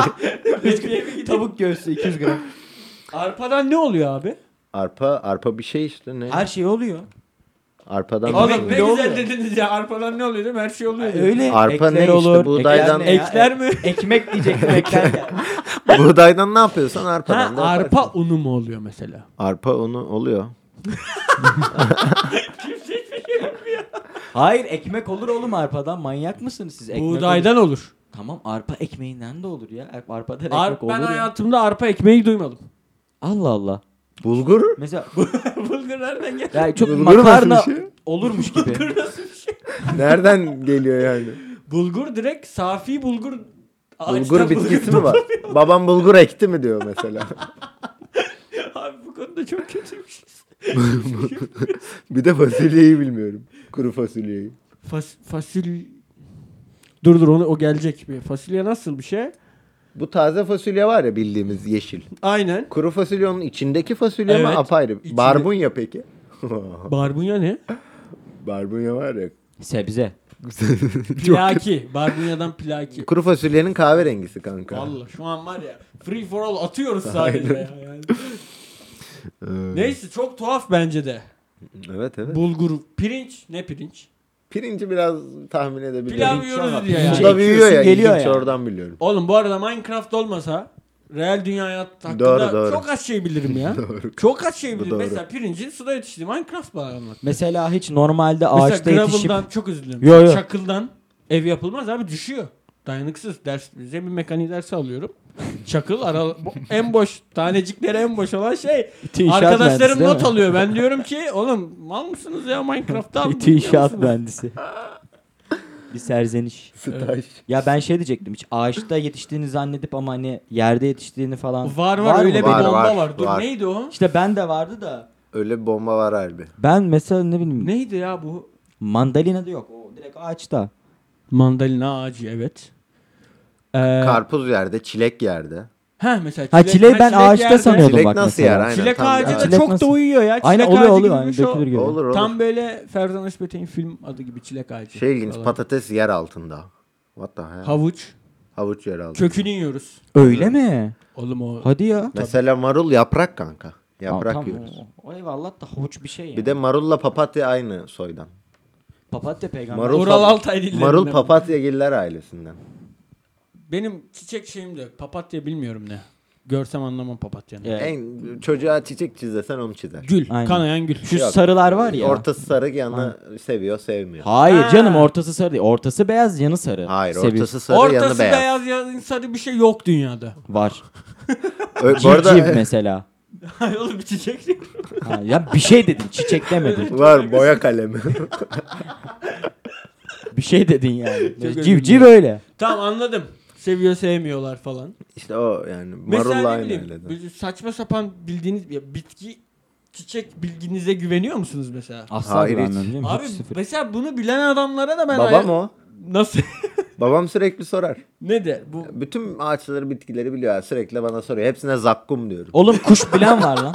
[SPEAKER 1] Lepiye mi gidiyor?
[SPEAKER 4] Tavuk göğsü 200 gram.
[SPEAKER 1] Arpadan ne oluyor abi?
[SPEAKER 2] Arpa, arpa bir şey işte ne?
[SPEAKER 4] Her şey oluyor.
[SPEAKER 2] Arpadan
[SPEAKER 4] Oğlum,
[SPEAKER 2] nasıl
[SPEAKER 1] Oğlum ne
[SPEAKER 2] oluyor?
[SPEAKER 4] ne
[SPEAKER 1] güzel
[SPEAKER 4] oluyor?
[SPEAKER 1] dediniz ya. Arpadan ne oluyor değil mi? Her şey oluyor. diyor.
[SPEAKER 4] Öyle
[SPEAKER 2] Arpa ne
[SPEAKER 4] ekler
[SPEAKER 2] işte,
[SPEAKER 4] olur.
[SPEAKER 2] buğdaydan-
[SPEAKER 4] ekler ne
[SPEAKER 1] Ekler mi?
[SPEAKER 4] ya? Ekmek diyecektim ekler. ne?
[SPEAKER 2] Buğdaydan ne yapıyorsan
[SPEAKER 1] Ha,
[SPEAKER 2] arpadan da yaparsın.
[SPEAKER 1] arpa unu mu oluyor mesela?
[SPEAKER 2] Arpa unu oluyor.
[SPEAKER 4] Hayır ekmek olur oğlum arpadan manyak mısınız siz? Ekmek olur.
[SPEAKER 1] Buğdaydan olur.
[SPEAKER 4] Tamam arpa ekmeğinden de olur ya. Arpadan ekmek
[SPEAKER 1] Ar-
[SPEAKER 4] olur
[SPEAKER 1] ben
[SPEAKER 4] ya.
[SPEAKER 1] hayatımda arpa ekmeği duymadım.
[SPEAKER 4] Allah Allah.
[SPEAKER 2] Bulgur?
[SPEAKER 4] Mesela
[SPEAKER 1] Bulgur nereden geldi?
[SPEAKER 4] yani çok
[SPEAKER 2] Bulgur
[SPEAKER 4] makarna
[SPEAKER 2] nasıl bir şey?
[SPEAKER 4] olurmuş gibi.
[SPEAKER 1] şey?
[SPEAKER 2] Nereden geliyor yani?
[SPEAKER 1] Bulgur direkt safi bulgur.
[SPEAKER 2] Bulgur
[SPEAKER 1] ağaçtan
[SPEAKER 2] bitkisi
[SPEAKER 1] bulgur
[SPEAKER 2] mi var? Babam bulgur ekti mi diyor mesela.
[SPEAKER 1] Abi bu konuda çok şey. kötüymüş.
[SPEAKER 2] bir de fasulyeyi bilmiyorum. Kuru fasulyeyi.
[SPEAKER 1] Fas, fasul... Dur dur onu, o gelecek bir. Fasulye nasıl bir şey?
[SPEAKER 2] Bu taze fasulye var ya bildiğimiz yeşil.
[SPEAKER 1] Aynen.
[SPEAKER 2] Kuru fasulye onun içindeki fasulye mi
[SPEAKER 1] Evet,
[SPEAKER 2] apayrı?
[SPEAKER 1] içinde.
[SPEAKER 2] Barbunya peki?
[SPEAKER 1] Barbunya ne?
[SPEAKER 2] Barbunya var ya.
[SPEAKER 4] Sebze.
[SPEAKER 1] Plaki. Barbunyadan plaki.
[SPEAKER 2] Kuru fasulyenin kahverengisi kanka.
[SPEAKER 1] Vallahi şu an var ya free for all atıyoruz sadece ya. Yani.
[SPEAKER 2] Ee,
[SPEAKER 1] Neyse çok tuhaf bence de.
[SPEAKER 2] Evet evet.
[SPEAKER 1] Bulgur, pirinç ne pirinç?
[SPEAKER 2] Pirinci biraz tahmin edebilirim.
[SPEAKER 1] Pilav yiyoruz diye
[SPEAKER 2] Bu
[SPEAKER 1] yani.
[SPEAKER 2] da büyüyor ya.
[SPEAKER 4] şey Geliyor
[SPEAKER 2] ilginç,
[SPEAKER 4] yani.
[SPEAKER 2] oradan biliyorum.
[SPEAKER 1] Oğlum bu arada Minecraft olmasa real dünya hayat hakkında
[SPEAKER 2] Doğru, doğru.
[SPEAKER 1] çok az şey bilirim ya.
[SPEAKER 2] Doğru.
[SPEAKER 1] çok az şey
[SPEAKER 2] Bu
[SPEAKER 1] bilirim.
[SPEAKER 2] doğru.
[SPEAKER 1] Mesela pirincin suda yetişti. Minecraft bana anlat.
[SPEAKER 4] Mesela hiç normalde ağaçta
[SPEAKER 1] Mesela
[SPEAKER 4] yetişip
[SPEAKER 1] gravel'dan çok özür dilerim.
[SPEAKER 4] Yo, yo.
[SPEAKER 1] Çakıldan ev yapılmaz abi düşüyor. Dayanıksız ders zemin mekaniği dersi alıyorum. Çakıl ara, bu- en boş tanecikleri en boş olan şey.
[SPEAKER 4] İnşaat mühendisi
[SPEAKER 1] Arkadaşlarım
[SPEAKER 4] değil
[SPEAKER 1] not
[SPEAKER 4] mi?
[SPEAKER 1] alıyor. Ben diyorum ki oğlum mal mısınız ya Minecraft'ta?
[SPEAKER 4] İTÜ inşaat mühendisi. Bir serzeniş.
[SPEAKER 2] Staj.
[SPEAKER 4] Ya ben şey diyecektim hiç ağaçta yetiştiğini zannedip ama hani yerde yetiştiğini falan.
[SPEAKER 1] Var var,
[SPEAKER 4] mı?
[SPEAKER 1] öyle bir
[SPEAKER 2] Var,
[SPEAKER 1] bomba
[SPEAKER 2] var,
[SPEAKER 1] var. Dur
[SPEAKER 2] var.
[SPEAKER 1] neydi o?
[SPEAKER 4] İşte ben de vardı da.
[SPEAKER 2] Öyle bir bomba var harbi.
[SPEAKER 4] Ben mesela ne bileyim
[SPEAKER 1] Neydi ya bu?
[SPEAKER 4] mandalina da yok. O direkt ağaçta.
[SPEAKER 1] Mandalina ağacı evet. Ee,
[SPEAKER 2] Karpuz yerde, çilek yerde.
[SPEAKER 1] ha mesela
[SPEAKER 4] Ha çileği
[SPEAKER 1] ha,
[SPEAKER 4] ben ağaçta
[SPEAKER 1] yerde-
[SPEAKER 4] sanıyordum.
[SPEAKER 2] Çilek
[SPEAKER 4] bak
[SPEAKER 2] nasıl
[SPEAKER 4] mesela.
[SPEAKER 2] yer? Aynen,
[SPEAKER 1] Çilek
[SPEAKER 2] tam bir
[SPEAKER 1] ağacı da
[SPEAKER 2] ağaç.
[SPEAKER 4] Çilek
[SPEAKER 1] çok
[SPEAKER 4] nasıl-
[SPEAKER 1] da uyuyor ya. Çilek
[SPEAKER 4] Aynen
[SPEAKER 1] ağacı
[SPEAKER 4] oluyor oluyor. Hani
[SPEAKER 1] gibi bir şey o.
[SPEAKER 4] dökülür gibi.
[SPEAKER 2] Olur olur.
[SPEAKER 1] Tam böyle Ferzan Özpetek'in film adı gibi çilek ağacı.
[SPEAKER 2] Şey ilginç
[SPEAKER 1] falan.
[SPEAKER 2] patates yer altında. What the hell?
[SPEAKER 1] Havuç.
[SPEAKER 2] Havuç yer altında.
[SPEAKER 1] Kökünü yiyoruz.
[SPEAKER 4] Öyle mi?
[SPEAKER 1] Oğlum o.
[SPEAKER 4] Hadi ya.
[SPEAKER 2] Mesela marul yaprak kanka. Yaprak
[SPEAKER 4] Tamam,
[SPEAKER 2] yiyoruz.
[SPEAKER 4] O, o eyvallah da havuç bir şey yani.
[SPEAKER 2] Bir de marulla papatya aynı soydan.
[SPEAKER 4] papatya peygamber.
[SPEAKER 2] Marul,
[SPEAKER 1] Ural
[SPEAKER 2] pap-
[SPEAKER 1] Altay dillerinden.
[SPEAKER 2] Marul papatyagiller ailesinden.
[SPEAKER 1] Benim çiçek şeyim de yok. papatya bilmiyorum ne. Görsem anlamam papatyanı.
[SPEAKER 4] Evet.
[SPEAKER 2] En çocuğa çiçek çizesen onu çizer.
[SPEAKER 1] Gül.
[SPEAKER 4] Aynen.
[SPEAKER 1] Kanayan gül.
[SPEAKER 4] Şu
[SPEAKER 2] Şey Yok.
[SPEAKER 4] sarılar var ya.
[SPEAKER 2] Ortası sarı yanı seviyor sevmiyor.
[SPEAKER 4] Hayır
[SPEAKER 1] Ha.
[SPEAKER 4] canım ortası sarı değil. Ortası beyaz yanı sarı.
[SPEAKER 2] Hayır
[SPEAKER 4] Seviyorsun.
[SPEAKER 2] ortası sarı yanı
[SPEAKER 1] Ortası
[SPEAKER 2] beyaz.
[SPEAKER 1] beyaz yazın sarı bir şey yok dünyada.
[SPEAKER 4] Var.
[SPEAKER 2] Ö- bu
[SPEAKER 4] Civciv
[SPEAKER 2] arada
[SPEAKER 4] mesela.
[SPEAKER 1] Hayır oğlum bir çiçek yok.
[SPEAKER 4] Ha, ya bir şey dedin çiçek demedin.
[SPEAKER 2] var boya kalemi.
[SPEAKER 4] Bir şey dedin yani.
[SPEAKER 1] özür
[SPEAKER 4] Civciv
[SPEAKER 1] dilerim.
[SPEAKER 4] öyle.
[SPEAKER 1] Tamam anladım. Seviyor sevmiyorlar falan.
[SPEAKER 2] işte o yani marulla
[SPEAKER 1] Mesela ne
[SPEAKER 2] aynı
[SPEAKER 1] bileyim
[SPEAKER 2] aileden.
[SPEAKER 1] böyle saçma sapan bildiğiniz ya bitki çiçek bilginize güveniyor musunuz mesela?
[SPEAKER 4] Asla
[SPEAKER 2] Hayır, hiç.
[SPEAKER 4] güvenmem canım,
[SPEAKER 1] Abi
[SPEAKER 4] hiç sıfır.
[SPEAKER 1] mesela bunu bilen adamlara da ben
[SPEAKER 2] Babam o.
[SPEAKER 1] nasıl
[SPEAKER 2] Babam sürekli sorar.
[SPEAKER 1] ne de bu
[SPEAKER 2] Bütün ağaçları bitkileri biliyor. Sürekli bana soruyor. Hepsine zakkum diyorum.
[SPEAKER 4] Oğlum kuş bilen var lan.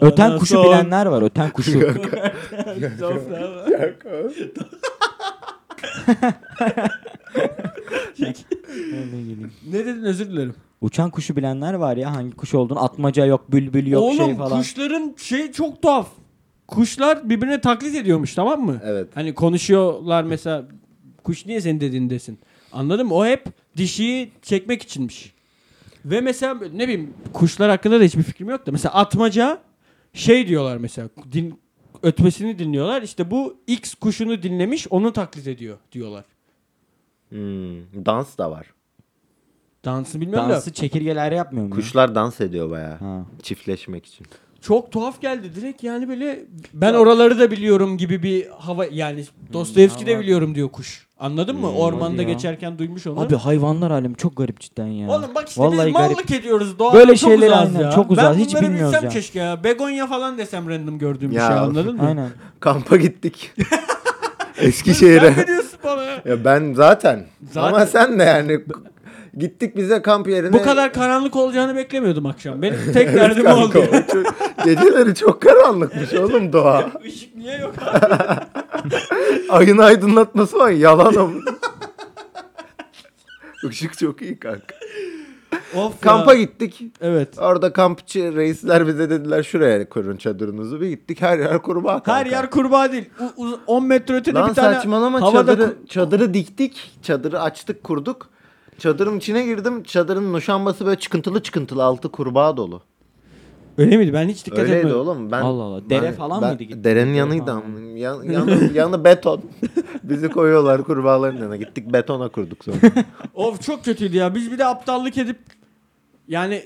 [SPEAKER 4] Öten kuşu
[SPEAKER 1] Anason.
[SPEAKER 4] bilenler var. Öten kuşu.
[SPEAKER 1] ne dedin özür dilerim.
[SPEAKER 4] Uçan kuşu bilenler var ya. Hangi kuş olduğunu atmaca yok, bülbül yok
[SPEAKER 1] Oğlum
[SPEAKER 4] şey falan.
[SPEAKER 1] kuşların şey çok tuhaf. Kuşlar birbirine taklit ediyormuş tamam mı?
[SPEAKER 2] Evet.
[SPEAKER 1] Hani konuşuyorlar mesela kuş niye senin dediğindesin. Anladın mı? O hep dişiyi çekmek içinmiş. Ve mesela ne bileyim kuşlar hakkında da hiçbir fikrim yok da mesela atmaca şey diyorlar mesela din, ötmesini dinliyorlar. İşte bu X kuşunu dinlemiş onu taklit ediyor diyorlar.
[SPEAKER 2] Hmm, dans da var.
[SPEAKER 1] Dansı bilmiyorum da
[SPEAKER 4] Dansı çekirgeler yapmıyor mu?
[SPEAKER 2] Kuşlar dans ediyor bayağı.
[SPEAKER 4] Ha.
[SPEAKER 2] Çiftleşmek için.
[SPEAKER 1] çok tuhaf geldi direkt yani böyle ben oraları da biliyorum gibi bir hava yani Dostoyevski de
[SPEAKER 4] ama-
[SPEAKER 1] biliyorum diyor kuş. Anladın mı?
[SPEAKER 2] Hmm,
[SPEAKER 1] Ormanda
[SPEAKER 4] hadi ya.
[SPEAKER 1] geçerken duymuş onu.
[SPEAKER 4] Abi hayvanlar alemi çok garip cidden ya.
[SPEAKER 1] Oğlum bak işte
[SPEAKER 4] Vallahi
[SPEAKER 1] biz
[SPEAKER 4] garip.
[SPEAKER 1] mallık ediyoruz doğada
[SPEAKER 4] Böyle
[SPEAKER 1] çok
[SPEAKER 4] şeyleri
[SPEAKER 1] uzağız
[SPEAKER 4] aynen,
[SPEAKER 1] ya.
[SPEAKER 4] çok uzağız,
[SPEAKER 1] Ben
[SPEAKER 4] hiç
[SPEAKER 1] bunları
[SPEAKER 4] bilmiyoruz
[SPEAKER 1] bilsem
[SPEAKER 4] ya.
[SPEAKER 1] keşke ya. Begonya falan desem random gördüğüm bir
[SPEAKER 2] Ya.
[SPEAKER 1] şey anladın mı?
[SPEAKER 4] Aynen.
[SPEAKER 2] Kampa gittik.
[SPEAKER 1] Sen ne
[SPEAKER 2] Eskişehir'e.
[SPEAKER 1] diyorsun bana?
[SPEAKER 2] ya ben zaten.
[SPEAKER 1] Zaten.
[SPEAKER 2] Ama sen de yani. Gittik bize kamp yerine.
[SPEAKER 1] Bu kadar karanlık olacağını beklemiyordum akşam. Benim tek derdim o
[SPEAKER 2] Kanka,
[SPEAKER 1] oldu.
[SPEAKER 2] o çok- Geceleri çok karanlıkmış oğlum doğa.
[SPEAKER 1] Işık niye yok abi?
[SPEAKER 2] Ayın aydınlatması var yalan ama. Işık çok iyi kanka.
[SPEAKER 1] Of
[SPEAKER 2] Kampa
[SPEAKER 1] ya.
[SPEAKER 2] gittik.
[SPEAKER 1] Evet.
[SPEAKER 2] Orada kampçı reisler bize dediler şuraya kurun çadırınızı. Bir gittik her yer kurbağa.
[SPEAKER 1] Her
[SPEAKER 2] kanka.
[SPEAKER 1] yer kurbağa değil. U- uz- 10 metre ötede
[SPEAKER 2] Lan
[SPEAKER 1] bir tane
[SPEAKER 2] saçmalama
[SPEAKER 1] havada
[SPEAKER 2] çadırı,
[SPEAKER 1] ku-
[SPEAKER 2] çadırı diktik. Çadırı açtık kurduk. Çadırın içine girdim. Çadırın nuşambası böyle çıkıntılı çıkıntılı altı kurbağa dolu.
[SPEAKER 1] Öyle miydi? Ben hiç dikkat
[SPEAKER 2] Öyleydi
[SPEAKER 1] etmedim.
[SPEAKER 2] oğlum. Ben,
[SPEAKER 4] Allah Allah. Dere
[SPEAKER 2] ben-
[SPEAKER 4] falan
[SPEAKER 2] ben-
[SPEAKER 4] mıydı gittiğiniz?
[SPEAKER 2] Derenin
[SPEAKER 4] Dere
[SPEAKER 2] yanıydı
[SPEAKER 4] falan.
[SPEAKER 2] ama. Yan, yanı, yanı beton. Bizi koyuyorlar kurbağaların yanına. Gittik betona kurduk sonra.
[SPEAKER 1] Of çok kötüydü ya. Biz bir de aptallık edip yani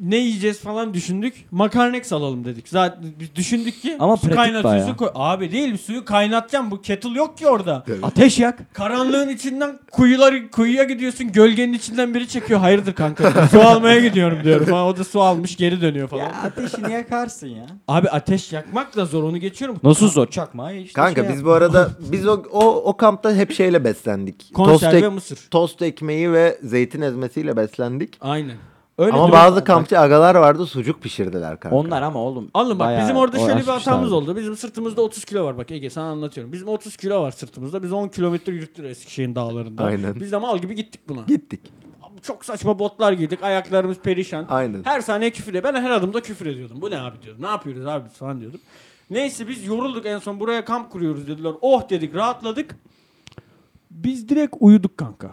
[SPEAKER 1] ne yiyeceğiz falan düşündük. Makarnex alalım dedik. Zaten biz düşündük ki
[SPEAKER 4] Ama pratik
[SPEAKER 1] kaynatıyorsun.
[SPEAKER 4] bayağı.
[SPEAKER 1] Koy. Abi değil suyu kaynatacağım. Bu kettle yok ki orada.
[SPEAKER 4] Ateş yak.
[SPEAKER 1] Karanlığın içinden kuyuları kuyuya gidiyorsun. Gölgenin içinden biri çekiyor. Hayırdır kanka? su almaya gidiyorum diyorum. Ha, o da su almış geri dönüyor falan.
[SPEAKER 4] Ya ateşini yakarsın ya.
[SPEAKER 1] Abi ateş yakmak da zor onu geçiyorum.
[SPEAKER 4] Nasıl zor? Çakma işte
[SPEAKER 2] Kanka
[SPEAKER 4] şey
[SPEAKER 2] biz bu arada biz o, o, o kampta hep şeyle beslendik.
[SPEAKER 1] Konserve
[SPEAKER 2] tost, ek-
[SPEAKER 1] mısır.
[SPEAKER 2] tost ekmeği ve zeytin ezmesiyle beslendik.
[SPEAKER 1] Aynen. Öyle
[SPEAKER 2] Ama
[SPEAKER 1] dur-
[SPEAKER 2] bazı kampçı agalar vardı sucuk pişirdiler kanka.
[SPEAKER 4] Onlar ama oğlum.
[SPEAKER 1] Alın bak
[SPEAKER 4] bayağı
[SPEAKER 1] bizim orada şöyle bir
[SPEAKER 4] uğraşmışlar.
[SPEAKER 1] hatamız oldu. Bizim sırtımızda 30 kilo var bak Ege sana anlatıyorum. Bizim 30 kilo var sırtımızda. Biz 10 kilometre yürüttük Eskişehir'in dağlarında.
[SPEAKER 2] Aynen.
[SPEAKER 1] Biz de mal gibi gittik buna.
[SPEAKER 2] Gittik.
[SPEAKER 1] Abi Çok saçma botlar giydik. Ayaklarımız perişan.
[SPEAKER 2] Aynen.
[SPEAKER 1] Her saniye küfür ediyor. Ben her adımda küfür ediyordum. Bu ne abi diyordum. Ne yapıyoruz abi biz falan diyordum. Neyse biz yorulduk en son buraya kamp kuruyoruz dediler. Oh dedik rahatladık. Biz direkt uyuduk kanka.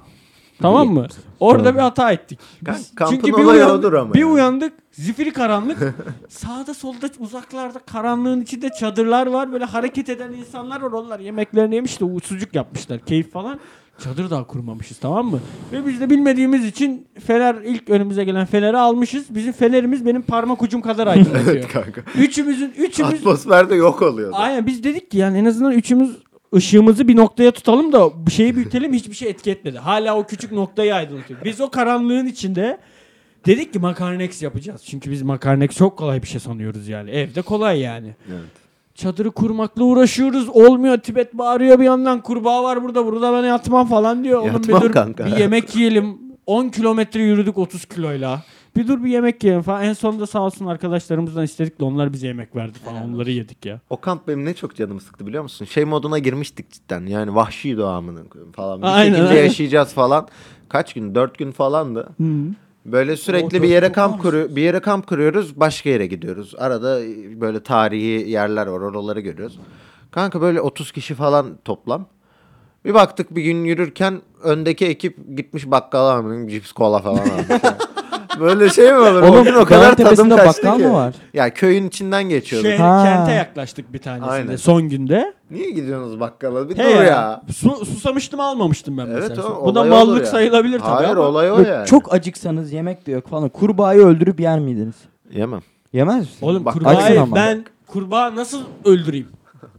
[SPEAKER 1] Tamam mı? Orada bir hata ettik.
[SPEAKER 2] Kan-
[SPEAKER 1] Biz-
[SPEAKER 2] kampın olayı odur ama
[SPEAKER 1] bir
[SPEAKER 2] yani.
[SPEAKER 1] uyandık zifiri karanlık. Sağda solda uzaklarda karanlığın içinde çadırlar var. Böyle hareket eden insanlar var. Onlar yemeklerini yemiş de sucuk yapmışlar. Keyif falan. Çadır daha kurmamışız tamam mı? Ve biz de bilmediğimiz için fener ilk önümüze gelen feneri almışız. Bizim fenerimiz benim parmak ucum kadar aydınlatıyor.
[SPEAKER 2] Evet kanka.
[SPEAKER 1] Üçümüzün üçümüz
[SPEAKER 2] Atmosferde yok oluyordu.
[SPEAKER 1] Aynen biz dedik ki yani en azından üçümüz ışığımızı bir noktaya tutalım da bir şeyi büyütelim hiçbir şey etki etmedi. Hala o küçük noktayı aydınlatıyor. Biz o karanlığın içinde dedik ki makarnex yapacağız. Çünkü biz makarnex çok kolay bir şey sanıyoruz yani. Evde kolay yani.
[SPEAKER 2] Evet.
[SPEAKER 1] Çadırı kurmakla uğraşıyoruz. Olmuyor. Tibet bağırıyor bir yandan. Kurbağa var burada. Burada ben yatmam falan diyor. Oğlum
[SPEAKER 2] Yatmam
[SPEAKER 1] bir dur
[SPEAKER 2] kanka.
[SPEAKER 1] bir yemek yiyelim. 10 kilometre yürüdük 30 kiloyla. Bir dur bir yemek yiyelim falan. En sonunda sağ olsun arkadaşlarımızdan istedik de onlar bize yemek verdi falan. Onları yedik ya.
[SPEAKER 2] O kamp benim ne çok canımı sıktı biliyor musun? Şey moduna girmiştik cidden. Yani vahşi doğamının falan. Bir
[SPEAKER 1] Aynen,
[SPEAKER 2] şekilde
[SPEAKER 1] aynen.
[SPEAKER 2] yaşayacağız falan. Kaç gün? Dört gün falandı. Böyle sürekli
[SPEAKER 4] dört
[SPEAKER 2] bir yere
[SPEAKER 4] gün
[SPEAKER 2] kamp
[SPEAKER 4] falan
[SPEAKER 2] kuru bir yere kamp kuruyoruz, başka yere gidiyoruz. Arada böyle tarihi yerler var, oraları görüyoruz. Kanka böyle 30 kişi falan toplam. Bir baktık bir gün yürürken öndeki ekip gitmiş bakkala almış, cips kola falan almış. böyle şey mi olur?
[SPEAKER 4] Oğlum,
[SPEAKER 2] O gün o kadar
[SPEAKER 4] dağın
[SPEAKER 2] tadım
[SPEAKER 4] tepesinde
[SPEAKER 2] kaçtı
[SPEAKER 4] bakkal
[SPEAKER 2] ki.
[SPEAKER 4] mı var?
[SPEAKER 2] Ya köyün içinden geçiyorduk.
[SPEAKER 1] Şehre,
[SPEAKER 4] Ha.
[SPEAKER 1] kente yaklaştık bir tanesinde
[SPEAKER 2] Aynen.
[SPEAKER 1] son günde.
[SPEAKER 2] Niye gidiyorsunuz bakkala? Bir
[SPEAKER 1] He
[SPEAKER 2] dur ya.
[SPEAKER 1] Su, susamıştım almamıştım ben
[SPEAKER 2] Evet
[SPEAKER 1] mesela.
[SPEAKER 2] o
[SPEAKER 1] Bu da
[SPEAKER 2] olay
[SPEAKER 1] mallık
[SPEAKER 2] olur yani.
[SPEAKER 1] sayılabilir tabii
[SPEAKER 2] Hayır
[SPEAKER 1] ama.
[SPEAKER 2] olay o
[SPEAKER 4] Böyle
[SPEAKER 2] yani.
[SPEAKER 4] Çok acıksanız yemek de yok falan. Kurbağayı öldürüp yer miydiniz?
[SPEAKER 2] Yemem.
[SPEAKER 4] Yemez misin?
[SPEAKER 1] Oğlum
[SPEAKER 2] Bak,
[SPEAKER 4] açsın
[SPEAKER 1] kurbağayı
[SPEAKER 4] ama.
[SPEAKER 1] ben kurbağa nasıl öldüreyim?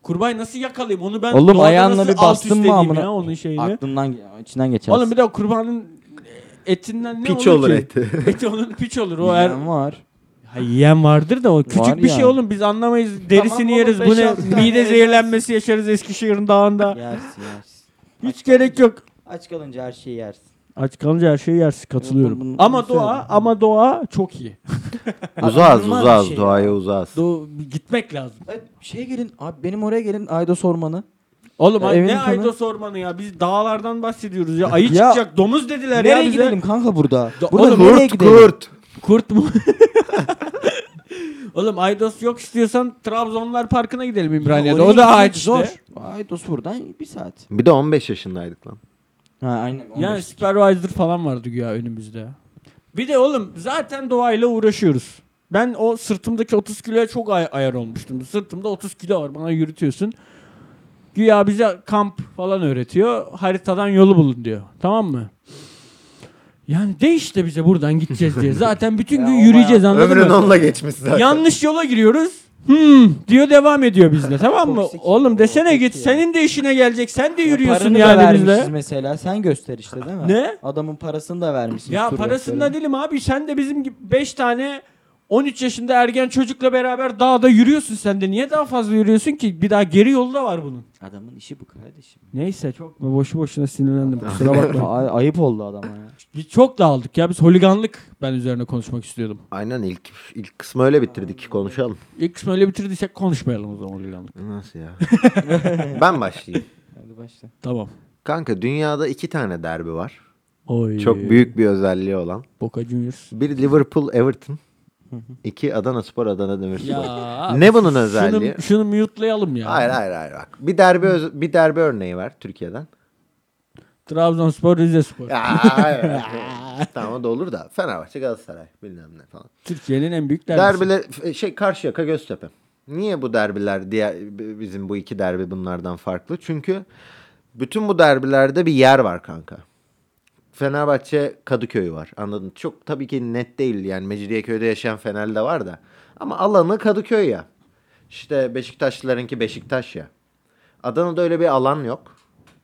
[SPEAKER 1] Kurbağayı nasıl yakalayayım? Onu ben
[SPEAKER 4] Oğlum,
[SPEAKER 1] doğada
[SPEAKER 4] ayağınla
[SPEAKER 1] nasıl
[SPEAKER 4] bir
[SPEAKER 1] alt üst
[SPEAKER 4] bastın mı
[SPEAKER 1] edeyim
[SPEAKER 4] amına-
[SPEAKER 1] ya onun şeyini.
[SPEAKER 4] Aklından içinden geçer.
[SPEAKER 1] Oğlum bir de kurbağanın etinden ne
[SPEAKER 2] Piç
[SPEAKER 1] olur,
[SPEAKER 2] olur
[SPEAKER 1] ki?
[SPEAKER 2] eti.
[SPEAKER 1] Eti onun piç olur. O er...
[SPEAKER 4] var.
[SPEAKER 1] Ha, yiyen vardır da o küçük
[SPEAKER 4] Var
[SPEAKER 1] bir şey
[SPEAKER 4] yani.
[SPEAKER 1] oğlum biz anlamayız. Derisini
[SPEAKER 3] oğlum,
[SPEAKER 1] yeriz. Bu
[SPEAKER 3] beş,
[SPEAKER 1] ne?
[SPEAKER 3] altı tane
[SPEAKER 1] Mide
[SPEAKER 3] yeriz.
[SPEAKER 1] zehirlenmesi yaşarız Eskişehir'in dağında.
[SPEAKER 4] Yersin yersin.
[SPEAKER 1] Hiç gerek yok.
[SPEAKER 4] Aç kalınca her şeyi yersin.
[SPEAKER 1] Aç kalınca her şeyi yersiz katılıyorum.
[SPEAKER 4] Bunu- bunu-
[SPEAKER 1] ama
[SPEAKER 4] bunu
[SPEAKER 1] doğa
[SPEAKER 4] söyledim.
[SPEAKER 1] ama doğa çok iyi.
[SPEAKER 2] Uzağız
[SPEAKER 4] Anormal bir
[SPEAKER 2] uzağız
[SPEAKER 4] şey
[SPEAKER 2] doğaya uzağız.
[SPEAKER 1] Do gitmek lazım.
[SPEAKER 4] Ay, Şey gelin abi benim oraya gelin Aydos Ormanı.
[SPEAKER 1] Oğlum ay-
[SPEAKER 4] Evin
[SPEAKER 1] ne
[SPEAKER 4] kanı.
[SPEAKER 1] aydos ormanı ya biz dağlardan bahsediyoruz ya ayı
[SPEAKER 4] Ya,
[SPEAKER 1] çıkacak domuz dediler ya
[SPEAKER 4] nereye
[SPEAKER 1] bize.
[SPEAKER 4] gidelim kanka burada?
[SPEAKER 1] Do-
[SPEAKER 4] burada
[SPEAKER 1] oğlum,
[SPEAKER 4] nereye
[SPEAKER 2] Kurt
[SPEAKER 4] gidelim?
[SPEAKER 2] kurt.
[SPEAKER 1] Kurt mu? Oğlum aydos yok istiyorsan Trabzonlar Parkı'na gidelim İmraniye'de.
[SPEAKER 4] Oraya
[SPEAKER 1] O da
[SPEAKER 4] gitmek
[SPEAKER 1] ağaç zor.
[SPEAKER 4] zor. Aydos buradan bir saat.
[SPEAKER 2] Bir de 15 yaşındaydık lan.
[SPEAKER 4] Ha aynen.
[SPEAKER 1] Yani supervisor falan vardı güya önümüzde. Bir de oğlum zaten doğayla uğraşıyoruz. Ben o sırtımdaki 30 kiloya çok ay- ayar olmuştum. Sırtımda 30 kilo var bana yürütüyorsun. Güya bize kamp falan öğretiyor. Haritadan yolu bulun diyor. Tamam mı? Yani de işte bize buradan gideceğiz diye. Zaten bütün
[SPEAKER 4] Ya
[SPEAKER 1] gün
[SPEAKER 4] o
[SPEAKER 1] yürüyeceğiz anladın
[SPEAKER 2] Ömrün
[SPEAKER 1] mı?
[SPEAKER 2] onunla geçmiş zaten.
[SPEAKER 1] Yanlış yola giriyoruz. Hmm diyor devam ediyor bizle tamam mı?
[SPEAKER 4] Toksik ya,
[SPEAKER 1] Oğlum
[SPEAKER 4] o
[SPEAKER 1] desene
[SPEAKER 4] kötü
[SPEAKER 1] git
[SPEAKER 4] ya.
[SPEAKER 1] senin de işine gelecek. Sen de yürüyorsun
[SPEAKER 4] Parasını
[SPEAKER 1] yani
[SPEAKER 4] da
[SPEAKER 1] bizle.
[SPEAKER 4] vermişiz mesela. Sen göster işte değil mi?
[SPEAKER 1] Ne?
[SPEAKER 4] Adamın parasını da vermişsin.
[SPEAKER 1] Ya parasında değilim abi. Sen de bizim gibi 5 tane 13 yaşında ergen çocukla beraber dağda yürüyorsun sen de. Niye daha fazla yürüyorsun ki? Bir daha geri yolu da var bunun.
[SPEAKER 4] Adamın işi bu kardeşim.
[SPEAKER 1] Neyse çok boşu boşuna sinirlendim.
[SPEAKER 4] Kusura bakma. Ay- ayıp oldu adama ya.
[SPEAKER 1] Biz çok dağıldık ya. Biz holiganlık ben üzerine konuşmak istiyordum.
[SPEAKER 2] Aynen ilk ilk kısmı öyle bitirdik konuşalım.
[SPEAKER 1] İlk kısmı öyle bitirdiysek konuşmayalım o zaman holiganlık.
[SPEAKER 2] Nasıl ya? ben başlayayım.
[SPEAKER 4] Hadi başla.
[SPEAKER 1] Tamam.
[SPEAKER 2] Kanka dünyada iki tane derbi var.
[SPEAKER 1] Oy.
[SPEAKER 2] Çok büyük bir özelliği olan.
[SPEAKER 1] Boca Juniors.
[SPEAKER 2] Bir Liverpool Everton. iki Adana Spor Adana Demirspor.
[SPEAKER 1] Ya,
[SPEAKER 2] Ne bunun özelliği?
[SPEAKER 1] şunu, şunu mute'layalım ya.
[SPEAKER 2] Hayır hayır hayır bak. Bir derbi öz- bir derbi örneği ver Türkiye'den.
[SPEAKER 1] Trabzonspor, Rizespor.
[SPEAKER 2] Ya, hayır, hayır. tamam o da olur da Fenerbahçe Galatasaray bilmem ne falan.
[SPEAKER 1] Türkiye'nin en büyük derbisi.
[SPEAKER 2] Derbiler f- şey Karşıyaka Göztepe. Niye bu derbiler diğer b- bizim bu iki derbi bunlardan farklı? Çünkü bütün bu derbilerde bir yer var kanka. Fenerbahçe Kadıköy var. Anladın? mı? Çok tabii ki net değil. Yani Mecidiyeköy'de yaşayan Fenerli de var da. Ama alanı Kadıköy ya. İşte Beşiktaşlılarınki Beşiktaş ya. Adana'da öyle bir alan yok.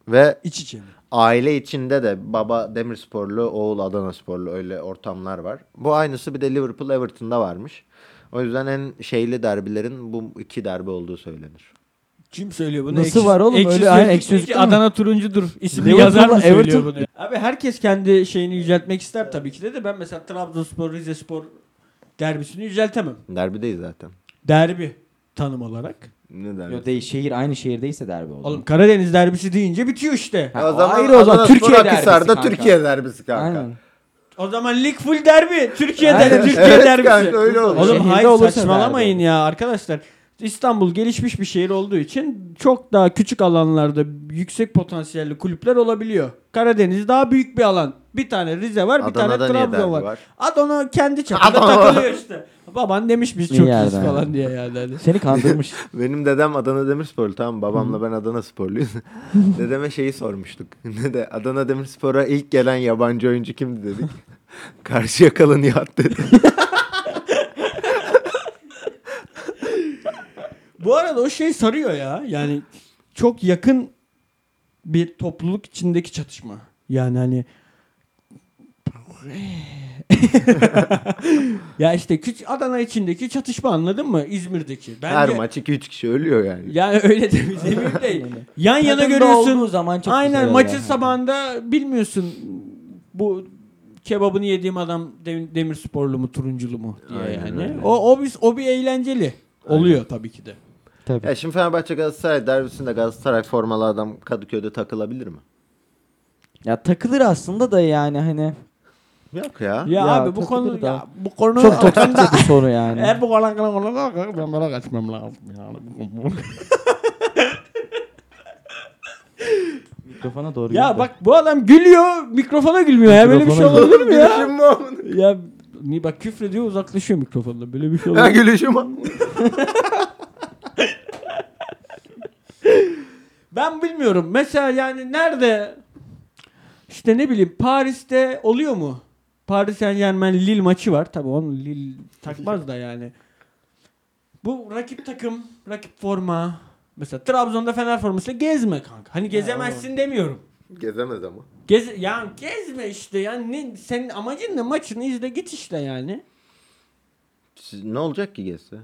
[SPEAKER 2] Ve
[SPEAKER 1] İç içe mi?
[SPEAKER 2] aile içinde de baba Demirsporlu, oğul Adana Sporlu öyle ortamlar var. Bu aynısı bir de Liverpool Everton'da varmış. O yüzden en şeyli derbilerin bu iki derbi olduğu söylenir.
[SPEAKER 1] Kim söylüyor bunu?
[SPEAKER 4] Nasıl var oğlum? Öyle-
[SPEAKER 1] sözlük
[SPEAKER 4] aynen,
[SPEAKER 1] değil
[SPEAKER 4] ekşi sözlükte
[SPEAKER 1] ki
[SPEAKER 4] mi?
[SPEAKER 1] Adana turuncudur. İsimli
[SPEAKER 4] Liverpool,
[SPEAKER 1] yazar mı söylüyor
[SPEAKER 4] Everton?
[SPEAKER 1] bunu? ya? Abi herkes kendi şeyini yüceltmek ister tabii ki de de ben mesela Trabzonspor, Rizespor derbisini yüceltemem.
[SPEAKER 2] Derbideyiz zaten.
[SPEAKER 1] Derbi tanım olarak.
[SPEAKER 2] Ne derbi?
[SPEAKER 4] Yo, değil, şehir aynı şehirdeyse derbi olur.
[SPEAKER 1] Oğlum Karadeniz derbisi deyince bitiyor işte.
[SPEAKER 4] Ha, ayrı o zaman Türkiye derbisi kanka.
[SPEAKER 2] Türkiye derbisi kanka.
[SPEAKER 4] Aynen.
[SPEAKER 1] O zaman lig full derbi. Türkiye'de
[SPEAKER 4] Aynen.
[SPEAKER 1] Türkiye
[SPEAKER 2] Evet
[SPEAKER 1] derbisi.
[SPEAKER 2] kanka, öyle olur.
[SPEAKER 1] Oğlum
[SPEAKER 4] Şehirde
[SPEAKER 1] hayır
[SPEAKER 4] olursa
[SPEAKER 1] saçmalamayın
[SPEAKER 4] derbi.
[SPEAKER 1] ya arkadaşlar. İstanbul gelişmiş bir şehir olduğu için çok daha küçük alanlarda yüksek potansiyelli kulüpler olabiliyor. Karadeniz daha büyük bir alan. Bir tane Rize var, bir
[SPEAKER 2] Adana'da niye
[SPEAKER 1] tane
[SPEAKER 2] derbi
[SPEAKER 1] Trabzon var.
[SPEAKER 2] var?
[SPEAKER 1] Adana kendi çapında
[SPEAKER 2] Adana.
[SPEAKER 1] takılıyor işte. Baban demiş biz
[SPEAKER 4] İyi
[SPEAKER 1] çok
[SPEAKER 4] yerden.
[SPEAKER 1] iyiyiz falan diye yani. Hani.
[SPEAKER 4] Seni kandırmış.
[SPEAKER 2] Benim dedem Adana Demirsporlu tamam babamla ben Adana Sporluyuz. Dedeme şeyi sormuştuk. Ne de Adana Demirspor'a ilk gelen yabancı oyuncu kimdi dedik. Karşıyakalı Nihat dedi.
[SPEAKER 1] Bu arada o şey sarıyor ya. Yani çok yakın bir topluluk içindeki çatışma. Yani hani ya işte küçük Adana içindeki çatışma anladın mı? İzmir'deki. Bence,
[SPEAKER 2] Her maç 2-3 kişi ölüyor yani.
[SPEAKER 1] Yani öyle de demeyeyim de. Yan yana
[SPEAKER 4] Takımda
[SPEAKER 1] görüyorsun.
[SPEAKER 4] olduğu zaman çok
[SPEAKER 1] Aynen
[SPEAKER 4] güzel
[SPEAKER 1] maçın
[SPEAKER 4] yani.
[SPEAKER 1] sabahında bilmiyorsun bu kebabını yediğim adam dem- demir sporlu mu turunculu mu diye
[SPEAKER 2] Aynen
[SPEAKER 1] yani.
[SPEAKER 2] öyle.
[SPEAKER 1] O, o, bir, o bir eğlenceli oluyor tabii ki de.
[SPEAKER 4] Tabii.
[SPEAKER 2] Ya şimdi Fenerbahçe Galatasaray derbisinde Galatasaray formalı adam Kadıköy'de takılabilir mi?
[SPEAKER 4] Ya takılır aslında da yani hani
[SPEAKER 2] Yok ya.
[SPEAKER 1] Ya,
[SPEAKER 4] Ya
[SPEAKER 1] abi bu
[SPEAKER 4] takılır
[SPEAKER 1] konu
[SPEAKER 4] da.
[SPEAKER 1] ya, bu konu
[SPEAKER 4] çok toksik bir soru yani.
[SPEAKER 1] Eğer bu olan kalan olacak ben bana kaçmam lazım yani.
[SPEAKER 4] Mikrofona doğru
[SPEAKER 1] ya
[SPEAKER 4] gönder.
[SPEAKER 1] bak bu adam gülüyor mikrofona gülmüyor ya böyle bir şey
[SPEAKER 4] Mikrofona
[SPEAKER 1] olabilir mi ya?
[SPEAKER 2] Gülüşüm o.
[SPEAKER 1] ya ni bak küfrediyor uzaklaşıyor mikrofondan böyle bir şey
[SPEAKER 2] Ya
[SPEAKER 1] olabilir. mi?
[SPEAKER 2] gülüşüm o.
[SPEAKER 1] ben bilmiyorum mesela yani nerede işte ne bileyim Paris'te oluyor mu? Paris Saint Germain Lille maçı var tabii onun Lille takmaz da yani. Bu rakip takım, rakip forma. Mesela Trabzon'da Fener formasıyla gezme kanka. Hani gezemezsin demiyorum.
[SPEAKER 2] Gezemez ama.
[SPEAKER 1] Gez, ya gezme işte yani ne, senin amacın ne maçını izle git işte yani.
[SPEAKER 2] Siz- ne olacak ki gezse?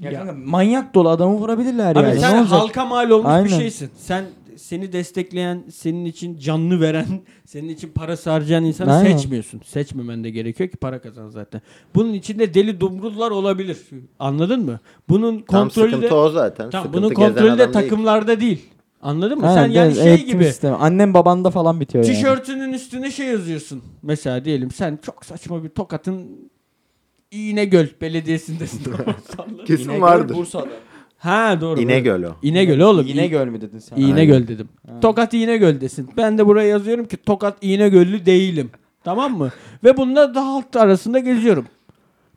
[SPEAKER 4] Ya
[SPEAKER 1] Ya.
[SPEAKER 4] kanka manyak dolu adamı vurabilirler
[SPEAKER 1] Abi
[SPEAKER 4] yani.
[SPEAKER 1] sen
[SPEAKER 4] ne olacak?
[SPEAKER 1] halka mal olmuş bir
[SPEAKER 4] Aynen.
[SPEAKER 1] şeysin. Sen seni destekleyen, senin için canlı veren, senin için para harcayan insanı
[SPEAKER 4] Aynen.
[SPEAKER 1] seçmiyorsun. Seçmemen de gerekiyor ki para kazan zaten. Bunun içinde deli dumrullar olabilir. Anladın mı? Bunun
[SPEAKER 2] Tam
[SPEAKER 1] kontrolü de
[SPEAKER 2] sıkıntı o zaten.
[SPEAKER 1] Tamam,
[SPEAKER 2] Sıkıntı
[SPEAKER 1] bunun
[SPEAKER 2] gezen
[SPEAKER 1] kontrolü de
[SPEAKER 2] adam değil.
[SPEAKER 1] takımlarda değil. Anladın mı?
[SPEAKER 4] Aynen,
[SPEAKER 1] sen yani
[SPEAKER 4] evet,
[SPEAKER 1] şey
[SPEAKER 4] eğitim
[SPEAKER 1] gibi
[SPEAKER 4] sistemi. Annem babanda falan bitiyor yani.
[SPEAKER 1] Tişörtünün üstüne şey yazıyorsun. Mesela diyelim sen çok saçma bir Tokat'ın İnegöl Belediyesi'ndesin. Sallarım.
[SPEAKER 2] Kesin
[SPEAKER 4] İnegöl,
[SPEAKER 2] vardır.
[SPEAKER 4] Bursa'da.
[SPEAKER 1] ha doğru.
[SPEAKER 2] İnegöl o.
[SPEAKER 1] İnegöl oğlum. İ-
[SPEAKER 4] İnegöl mü dedin sen?
[SPEAKER 1] İnegöl dedim. Tokat İnegöl'desin. Ben de buraya yazıyorum ki Tokat İnegöllü değilim. Tamam mı? Ve bununla da halk arasında geziyorum.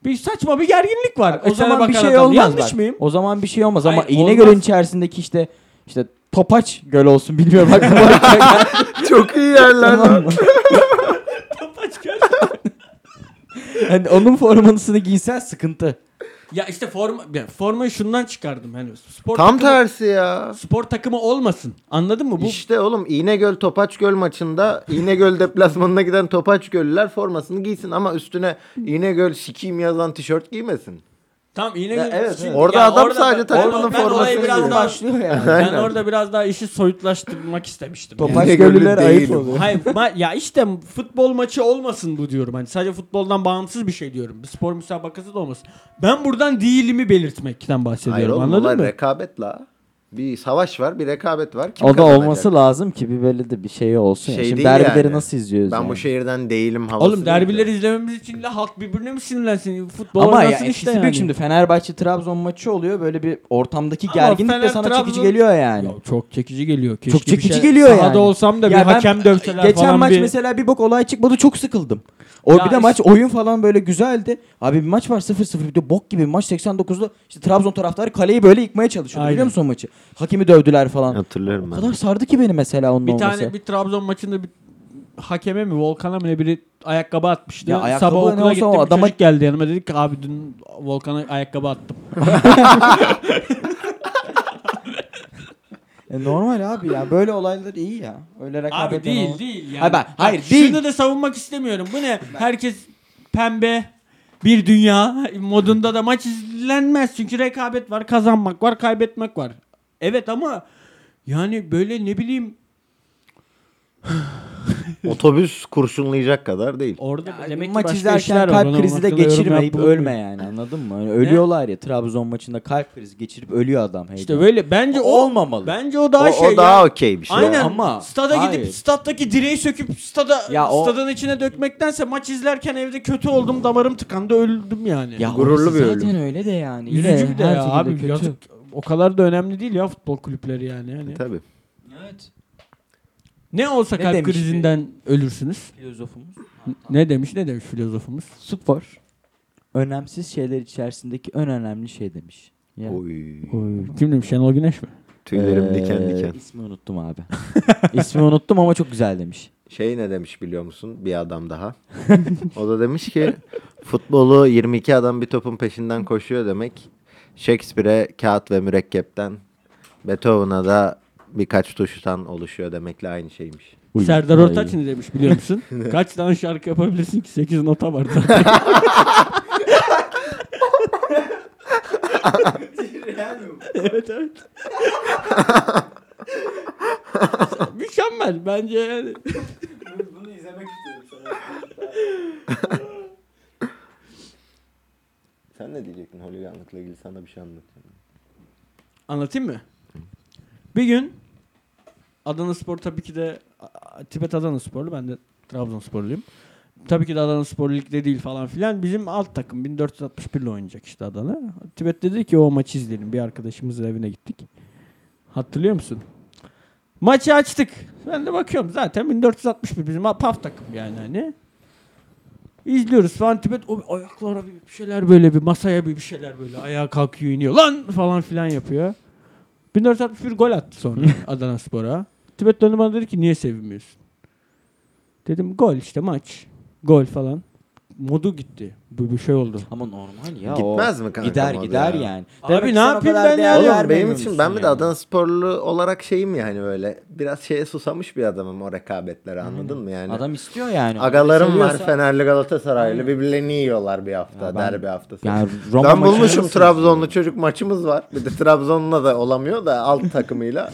[SPEAKER 1] Bir saçma bir gerginlik var.
[SPEAKER 4] O
[SPEAKER 1] Esen'e
[SPEAKER 4] zaman bir
[SPEAKER 1] bakan
[SPEAKER 4] şey
[SPEAKER 1] adam.
[SPEAKER 4] olmaz.
[SPEAKER 1] Yanlış
[SPEAKER 4] bak.
[SPEAKER 1] mıyım?
[SPEAKER 4] O zaman bir şey olmaz ama
[SPEAKER 1] Hayır,
[SPEAKER 4] İnegöl'ün
[SPEAKER 1] olmaz.
[SPEAKER 4] içerisindeki işte işte Topaç Göl olsun bilmiyorum aklıma.
[SPEAKER 2] Çok iyi yerler.
[SPEAKER 4] Tamam mı?
[SPEAKER 1] Topaç Göl.
[SPEAKER 4] şey. yani Hani onun formasını giysen sıkıntı.
[SPEAKER 1] ya işte forma, ya formayı şundan çıkardım. Hani spor
[SPEAKER 2] Tam
[SPEAKER 1] takımı,
[SPEAKER 2] tersi ya.
[SPEAKER 1] Spor takımı olmasın. Anladın mı? Bu
[SPEAKER 2] İşte oğlum İnegöl Topaçgöl maçında İnegöl deplasmanına giden Topaçgöllüler formasını giysin ama üstüne İnegöl sikiyim yazan tişört giymesin.
[SPEAKER 1] Tam yine
[SPEAKER 2] Ya evet,
[SPEAKER 1] Şimdi
[SPEAKER 2] evet. Orada adam sadece takımın
[SPEAKER 1] orada- ben
[SPEAKER 2] formasını
[SPEAKER 1] orayı biraz
[SPEAKER 2] giyiyor.
[SPEAKER 1] daha-
[SPEAKER 4] başlıyor yani.
[SPEAKER 1] Ben orada biraz daha işi soyutlaştırmak istemiştim. yani.
[SPEAKER 4] Topaç
[SPEAKER 2] İnegöllü
[SPEAKER 4] Göllüler ayıp
[SPEAKER 2] değilim.
[SPEAKER 4] oluyor.
[SPEAKER 1] Hayır ma- ya işte futbol maçı olmasın bu diyorum. Hani sadece futboldan bağımsız bir şey diyorum. Bir spor müsabakası da olmasın. Ben buradan değilimi belirtmekten bahsediyorum.
[SPEAKER 2] Hayır oğlum
[SPEAKER 1] anladın
[SPEAKER 2] bunlar
[SPEAKER 1] mı?
[SPEAKER 2] rekabet la. Bir savaş var, bir rekabet var. Kim
[SPEAKER 4] O da
[SPEAKER 2] kazanacak?
[SPEAKER 4] olması lazım ki bir böyle de bir şey olsun. ya.
[SPEAKER 2] Şey
[SPEAKER 4] Şimdi
[SPEAKER 2] değil
[SPEAKER 4] derbileri
[SPEAKER 2] yani.
[SPEAKER 4] nasıl izliyoruz?
[SPEAKER 2] Ben
[SPEAKER 4] yani?
[SPEAKER 2] bu şey- şehirden değilim havası.
[SPEAKER 1] Oğlum derbileri izlememiz için la halk birbirine mi sinirlensin? Futbol
[SPEAKER 4] Ama ya
[SPEAKER 1] oynasın
[SPEAKER 4] etkisi
[SPEAKER 1] işte
[SPEAKER 4] büyük
[SPEAKER 1] yani.
[SPEAKER 4] şimdi Fenerbahçe Trabzon maçı oluyor böyle bir ortamdaki
[SPEAKER 1] Ama
[SPEAKER 4] gerginlik de
[SPEAKER 1] Fener,
[SPEAKER 4] sana çekici
[SPEAKER 1] Trabzon-
[SPEAKER 4] geliyor yani.
[SPEAKER 1] Ya çok çekici geliyor. Keşke
[SPEAKER 4] Çok
[SPEAKER 1] bir
[SPEAKER 4] çekici
[SPEAKER 1] şey-
[SPEAKER 4] geliyor yani.
[SPEAKER 1] Sahada olsam da bir
[SPEAKER 4] Ya ben-
[SPEAKER 1] hakem dövseler
[SPEAKER 4] Geçen
[SPEAKER 1] falan
[SPEAKER 4] maç
[SPEAKER 1] bir...
[SPEAKER 4] mesela bir bok olay çıkmadı çok sıkıldım. O
[SPEAKER 1] Ya
[SPEAKER 4] bir de
[SPEAKER 1] işte-
[SPEAKER 4] maç oyun falan böyle güzeldi. Abi bir maç var 0-0 bir de bok gibi bir maç 89'da işte Trabzon taraftarı kaleyi böyle yıkmaya çalışıyordu
[SPEAKER 1] Aynen.
[SPEAKER 4] biliyor musun o maçı? Hakimi dövdüler falan.
[SPEAKER 2] Hatırlarım
[SPEAKER 4] O
[SPEAKER 2] ben.
[SPEAKER 4] kadar sardı ki beni mesela onun
[SPEAKER 1] Bir
[SPEAKER 4] olması.
[SPEAKER 1] tane bir Trabzon maçında bir hakeme mi Volkan'a mı ne biri ayakkabı atmıştı.
[SPEAKER 4] Ya ayakkabı
[SPEAKER 1] Sabah
[SPEAKER 4] ne
[SPEAKER 1] okula
[SPEAKER 4] olsa
[SPEAKER 1] gittim
[SPEAKER 4] o
[SPEAKER 1] bir
[SPEAKER 4] adama-
[SPEAKER 1] çocuk geldi yanıma dedi ki abi dün Volkan'a ayakkabı attım.
[SPEAKER 4] E, normal abi ya böyle olaylar iyi ya. Öyle
[SPEAKER 1] Abi
[SPEAKER 4] rekabetten
[SPEAKER 1] değil
[SPEAKER 4] olan-
[SPEAKER 1] değil yani.
[SPEAKER 4] Hayır, ben- hayır,
[SPEAKER 1] Bak,
[SPEAKER 4] değil.
[SPEAKER 1] Şunu da savunmak istemiyorum. Bu ne? Herkes pembe bir dünya modunda da maç izlenmez. Çünkü rekabet var, kazanmak var, kaybetmek var. Evet ama yani böyle ne bileyim
[SPEAKER 2] Otobüs kurşunlayacak kadar değil.
[SPEAKER 1] orada
[SPEAKER 4] Ya,
[SPEAKER 1] demek ki
[SPEAKER 4] maç
[SPEAKER 1] başka
[SPEAKER 4] izlerken
[SPEAKER 1] işler var.
[SPEAKER 4] kalp
[SPEAKER 1] Onun
[SPEAKER 4] krizi de
[SPEAKER 1] hakkında yorum
[SPEAKER 4] geçirmeyip
[SPEAKER 1] yapmak-
[SPEAKER 4] ölme yani anladın mı? Yani ölüyorlar ya Trabzon maçında kalp krizi geçirip ölüyor adam.
[SPEAKER 1] İşte
[SPEAKER 4] heyecandan.
[SPEAKER 1] böyle bence o
[SPEAKER 4] Olmamalı.
[SPEAKER 1] Bence o daha
[SPEAKER 2] o,
[SPEAKER 1] şey.
[SPEAKER 2] o daha
[SPEAKER 1] ya.
[SPEAKER 2] okey bir şey.
[SPEAKER 1] Aynen.
[SPEAKER 4] Ama-
[SPEAKER 1] stada
[SPEAKER 4] Hayır.
[SPEAKER 1] gidip stattaki direği söküp stada
[SPEAKER 4] Ya o-
[SPEAKER 1] stadın içine dökmektense maç izlerken evde kötü oldum, damarım tıkandı, öldüm yani.
[SPEAKER 4] Ya
[SPEAKER 2] Gururlu
[SPEAKER 4] orası
[SPEAKER 2] bir
[SPEAKER 4] zaten
[SPEAKER 2] ölüm.
[SPEAKER 4] öyle de yani. Yine
[SPEAKER 1] Üzücü bir de
[SPEAKER 4] her
[SPEAKER 1] ya
[SPEAKER 4] şekilde
[SPEAKER 1] abi
[SPEAKER 4] kötü.
[SPEAKER 1] yazık. O kadar da önemli değil ya futbol kulüpleri yani. yani.
[SPEAKER 2] Tabii.
[SPEAKER 4] Evet.
[SPEAKER 1] Ne olsa
[SPEAKER 4] Ne
[SPEAKER 1] kalp
[SPEAKER 4] demiş
[SPEAKER 1] krizinden ölürsünüz.
[SPEAKER 4] Filozofumuz.
[SPEAKER 1] Ne demiş ne demiş filozofumuz?
[SPEAKER 4] Spor. Önemsiz şeyler içerisindeki en önemli şey demiş. Ya.
[SPEAKER 2] Oy.
[SPEAKER 1] Kim demiş Şenol Güneş mi?
[SPEAKER 2] Tüylerim
[SPEAKER 4] Ee,
[SPEAKER 2] diken diken.
[SPEAKER 4] İsmi unuttum abi. İsmi unuttum ama çok güzel demiş.
[SPEAKER 2] Şey ne demiş biliyor musun? Bir adam daha. o da demiş ki futbolu 22 adam bir topun peşinden koşuyor demek. Shakespeare'e kağıt ve mürekkepten, Beethoven'a da birkaç tuştan oluşuyor demekle aynı şeymiş.
[SPEAKER 4] Uy,
[SPEAKER 1] Serdar
[SPEAKER 4] vay.
[SPEAKER 1] Ortaç ne demiş biliyor musun? Kaç tane şarkı yapabilirsin ki? 8 nota var zaten. evet evet. Mükemmel bence yani.
[SPEAKER 3] Bunu izlemek istiyorum
[SPEAKER 2] Sen ne diyecektin holiganlıkla ilgili? Sana bir şey anlatayım.
[SPEAKER 1] Anlatayım mı? Bir gün Adana Spor tabii ki de a- Tibet Adana Sporlu ben de Trabzonsporluyum. Tabii ki de Adana Spor Lig'de değil falan filan. Bizim alt takım 1461 ile oynayacak işte Adana. Tibet dedi ki o maçı izleyelim. Bir arkadaşımızın evine gittik. Hatırlıyor musun? Maçı açtık. Ben de bakıyorum zaten 1461 bizim paf takım yani hani. İzliyoruz falan Tibet o ayaklara bir bir şeyler böyle bir masaya bir bir şeyler böyle ayağa kalkıyor iniyor lan falan filan yapıyor. 1461 gol attı sonra Adana Spor'a. Tibet döndü bana dedi ki niye sevinmiyorsun? Dedim gol işte maç. Gol falan. Modu gitti. Bu bir şey oldu.
[SPEAKER 4] Ama normal ya
[SPEAKER 2] Gitmez
[SPEAKER 4] o.
[SPEAKER 2] mi kanka
[SPEAKER 4] Gider
[SPEAKER 2] moda
[SPEAKER 4] gider
[SPEAKER 2] ya?
[SPEAKER 4] yani.
[SPEAKER 1] Abi
[SPEAKER 4] ki
[SPEAKER 1] ne
[SPEAKER 4] sen o
[SPEAKER 1] yapayım
[SPEAKER 4] kadar
[SPEAKER 1] ben ya?
[SPEAKER 4] değer
[SPEAKER 2] Oğlum benim
[SPEAKER 4] vermiyormuşsun
[SPEAKER 2] için ben bir de
[SPEAKER 4] yani.
[SPEAKER 2] Adana sporlu olarak şeyim yani öyle. Biraz şeye susamış bir adamım o rekabetlere anladın mı yani?
[SPEAKER 4] Adam istiyor yani.
[SPEAKER 2] Agalarım var
[SPEAKER 4] Seviyorsa-
[SPEAKER 2] Fenerli Galatasaraylı birbirlerini yiyorlar bir hafta
[SPEAKER 4] Ya ben-
[SPEAKER 2] derbi haftası.
[SPEAKER 4] Yani Roma
[SPEAKER 2] ben
[SPEAKER 4] maçını
[SPEAKER 2] bulmuşum
[SPEAKER 4] nasıl
[SPEAKER 2] Trabzonlu çocuk maçımız var. Bir de Trabzon'la da olamıyor da alt takımıyla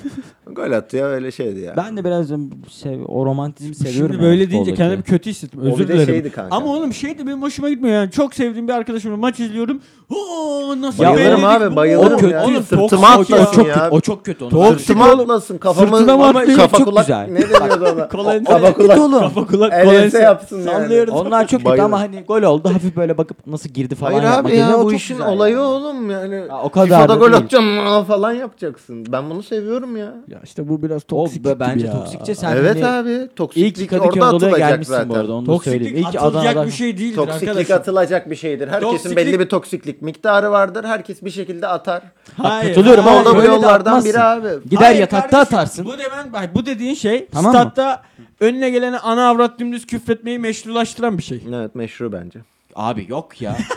[SPEAKER 2] gol atıyor öyle şeydi ya.
[SPEAKER 4] Ben de biraz sev o romantizmi seviyorum.
[SPEAKER 1] Şimdi
[SPEAKER 4] ya
[SPEAKER 1] böyle deyince
[SPEAKER 4] futboldaki.
[SPEAKER 1] kendimi kötü hissettim.
[SPEAKER 2] O
[SPEAKER 1] Özür
[SPEAKER 2] bir de
[SPEAKER 1] dilerim.
[SPEAKER 2] şeydi kanka.
[SPEAKER 1] Ama oğlum şey de benim hoşuma gitmiyor yani. Çok sevdiğim bir arkadaşımla maç izliyorum. Oo nasıl
[SPEAKER 4] Ya
[SPEAKER 2] bayılırım
[SPEAKER 1] beğendik
[SPEAKER 2] abi
[SPEAKER 1] bu?
[SPEAKER 2] bayılırım
[SPEAKER 1] Oğlum,
[SPEAKER 2] ya.
[SPEAKER 1] oğlum,
[SPEAKER 2] Sırtıma
[SPEAKER 1] toksik ya.
[SPEAKER 2] atlasın
[SPEAKER 4] çok
[SPEAKER 2] ya.
[SPEAKER 4] kötü, o çok kötü. Onu
[SPEAKER 1] Toksik
[SPEAKER 2] Sırtıma
[SPEAKER 1] oğlum.
[SPEAKER 2] atlasın kafamı
[SPEAKER 1] Sırtına mı
[SPEAKER 2] ama
[SPEAKER 1] atlayayım?
[SPEAKER 2] kafa
[SPEAKER 4] Çok
[SPEAKER 2] kulak
[SPEAKER 4] güzel.
[SPEAKER 2] ne deniyordu ona?
[SPEAKER 1] Kolense.
[SPEAKER 2] Kafa kulak.
[SPEAKER 4] oğlum.
[SPEAKER 1] Kafa kulak
[SPEAKER 2] El ense
[SPEAKER 1] kolense
[SPEAKER 2] yapsın yani.
[SPEAKER 1] Sallıyoruz.
[SPEAKER 4] Onlar çok kötü
[SPEAKER 2] Bayılırım.
[SPEAKER 4] ama hani gol oldu hafif böyle bakıp nasıl girdi falan
[SPEAKER 2] Hayır
[SPEAKER 4] yapmak
[SPEAKER 2] abi
[SPEAKER 4] yerine
[SPEAKER 2] ya
[SPEAKER 4] o
[SPEAKER 2] bu
[SPEAKER 4] çok
[SPEAKER 2] işin
[SPEAKER 4] güzel
[SPEAKER 2] olayı
[SPEAKER 4] yani.
[SPEAKER 2] oğlum yani.
[SPEAKER 4] Ha, o kadar
[SPEAKER 2] FIFA'da
[SPEAKER 4] da
[SPEAKER 2] gol
[SPEAKER 4] değil.
[SPEAKER 2] atacağım aa falan yapacaksın. Ben bunu seviyorum ya.
[SPEAKER 1] Ya işte bu biraz
[SPEAKER 4] O
[SPEAKER 1] toksik.
[SPEAKER 4] be- bence
[SPEAKER 1] ya.
[SPEAKER 4] toksikçe sen
[SPEAKER 2] evet
[SPEAKER 4] hani
[SPEAKER 2] abi
[SPEAKER 4] iyi ki
[SPEAKER 2] toksiklik orada
[SPEAKER 4] Kadıköy Anadolu'ya
[SPEAKER 2] atılacak
[SPEAKER 4] gelmişsin
[SPEAKER 2] zaten.
[SPEAKER 4] bu arada onu da söyleyeyim.
[SPEAKER 1] Toksiklik
[SPEAKER 4] İyi ki
[SPEAKER 1] atılacak
[SPEAKER 4] Adana'dan.
[SPEAKER 1] bir şey değildir
[SPEAKER 2] Toksiklik
[SPEAKER 1] arkadaşım.
[SPEAKER 2] atılacak bir şeydir. Herkesin
[SPEAKER 1] Toksiklik-
[SPEAKER 2] belli bir toksiklik miktarı vardır. Herkes bir şekilde atar.
[SPEAKER 1] Hayır.
[SPEAKER 4] Katılıyorum
[SPEAKER 2] Ama
[SPEAKER 4] ama
[SPEAKER 2] o da bu
[SPEAKER 4] böyle de
[SPEAKER 2] yollardan
[SPEAKER 4] atmazsın.
[SPEAKER 2] biri abi.
[SPEAKER 4] Gider
[SPEAKER 1] Hayır
[SPEAKER 4] yatakta
[SPEAKER 1] kardeşim,
[SPEAKER 4] atarsın.
[SPEAKER 1] Bu demen bak bu dediğin şey
[SPEAKER 4] Tamam mı?
[SPEAKER 1] statta önüne gelene ana avrat dümdüz küfretmeyi meşrulaştıran bir şey.
[SPEAKER 2] Evet meşru bence.
[SPEAKER 4] Abi yok ya.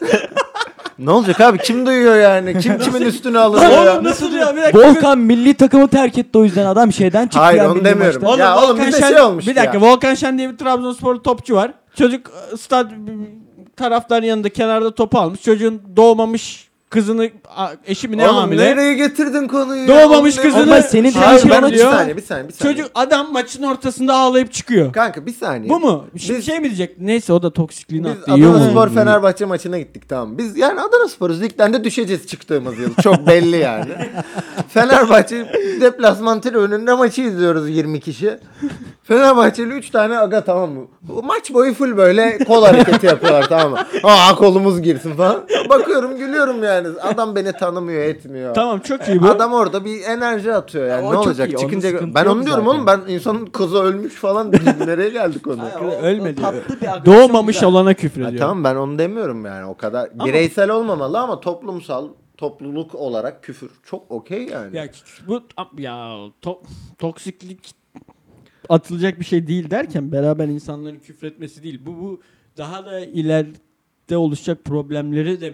[SPEAKER 2] Ne olacak abi kim duyuyor yani? Kim kimin üstüne alır ya?
[SPEAKER 1] Oğlum nasıl ya? Bir dakika.
[SPEAKER 4] Volkan milli takımı terk etti o yüzden adam şeyden çıktı.
[SPEAKER 2] Hayır,
[SPEAKER 4] ya
[SPEAKER 2] onu
[SPEAKER 4] milli
[SPEAKER 2] demiyorum.
[SPEAKER 4] maçta.
[SPEAKER 2] Ya oğlum bir de şey olmuş
[SPEAKER 1] Bir dakika
[SPEAKER 2] ya.
[SPEAKER 1] Volkan Şen diye bir Trabzonspor topçu var. Çocuk e, stad taraftarın yanında kenarda topu almış. Çocuğun doğmamış kızını a- eşi mi ne
[SPEAKER 2] Oğlum
[SPEAKER 1] hamile?
[SPEAKER 2] nereye getirdin konuyu?
[SPEAKER 1] Doğmamış
[SPEAKER 2] Oğlum,
[SPEAKER 1] kızını-
[SPEAKER 2] Ama
[SPEAKER 4] Ama senin
[SPEAKER 1] Abi
[SPEAKER 2] Hayır,
[SPEAKER 1] Şey
[SPEAKER 2] ben
[SPEAKER 4] dediğin
[SPEAKER 2] bir
[SPEAKER 1] oluyor.
[SPEAKER 2] saniye bir saniye bir saniye.
[SPEAKER 1] Çocuk adam maçın ortasında ağlayıp çıkıyor.
[SPEAKER 2] Kanka bir saniye.
[SPEAKER 1] Bu mu? Şimdi
[SPEAKER 2] Biz-
[SPEAKER 1] şey mi diyecek? Neyse o da toksikliğini
[SPEAKER 2] Biz
[SPEAKER 1] attı. iyi
[SPEAKER 2] Adana
[SPEAKER 1] oldu.
[SPEAKER 2] Spor Fenerbahçe maçına gittik tamam. Biz yani Adana Spor'uz. Ligden de düşeceğiz çıktığımız yıl. Çok belli yani. Fenerbahçe deplasman tribününde önünde maçı izliyoruz 20 kişi. Fenerbahçeli 3 tane aga tamam mı? Bu Maç boyu full böyle kol hareketi yapıyorlar tamam mı? Aa kolumuz girsin falan. Bakıyorum gülüyorum yani. Adam beni tanımıyor etmiyor.
[SPEAKER 1] Tamam çok iyi bu.
[SPEAKER 2] Adam orada bir enerji atıyor yani
[SPEAKER 4] O
[SPEAKER 2] ne
[SPEAKER 4] çok
[SPEAKER 2] olacak
[SPEAKER 4] iyi, onun
[SPEAKER 2] çıkınca
[SPEAKER 4] sıkıntı
[SPEAKER 2] ben
[SPEAKER 4] yok
[SPEAKER 2] onu diyorum
[SPEAKER 4] zaten.
[SPEAKER 2] oğlum ben insanın kızı ölmüş falan nereye geldi konu?
[SPEAKER 3] Hayır,
[SPEAKER 1] o- ölmedi.
[SPEAKER 3] tatlı bir agresyon
[SPEAKER 1] Doğmamış
[SPEAKER 3] güzel.
[SPEAKER 1] olana küfür
[SPEAKER 2] Ha,
[SPEAKER 1] ediyor.
[SPEAKER 2] tamam ben onu demiyorum yani o kadar bireysel olmamalı ama toplumsal topluluk olarak küfür çok okey yani. E,
[SPEAKER 1] Ya bu ya to- toksiklik atılacak bir şey değil derken beraber insanların küfretmesi değil. Bu bu daha da ileride oluşacak problemleri de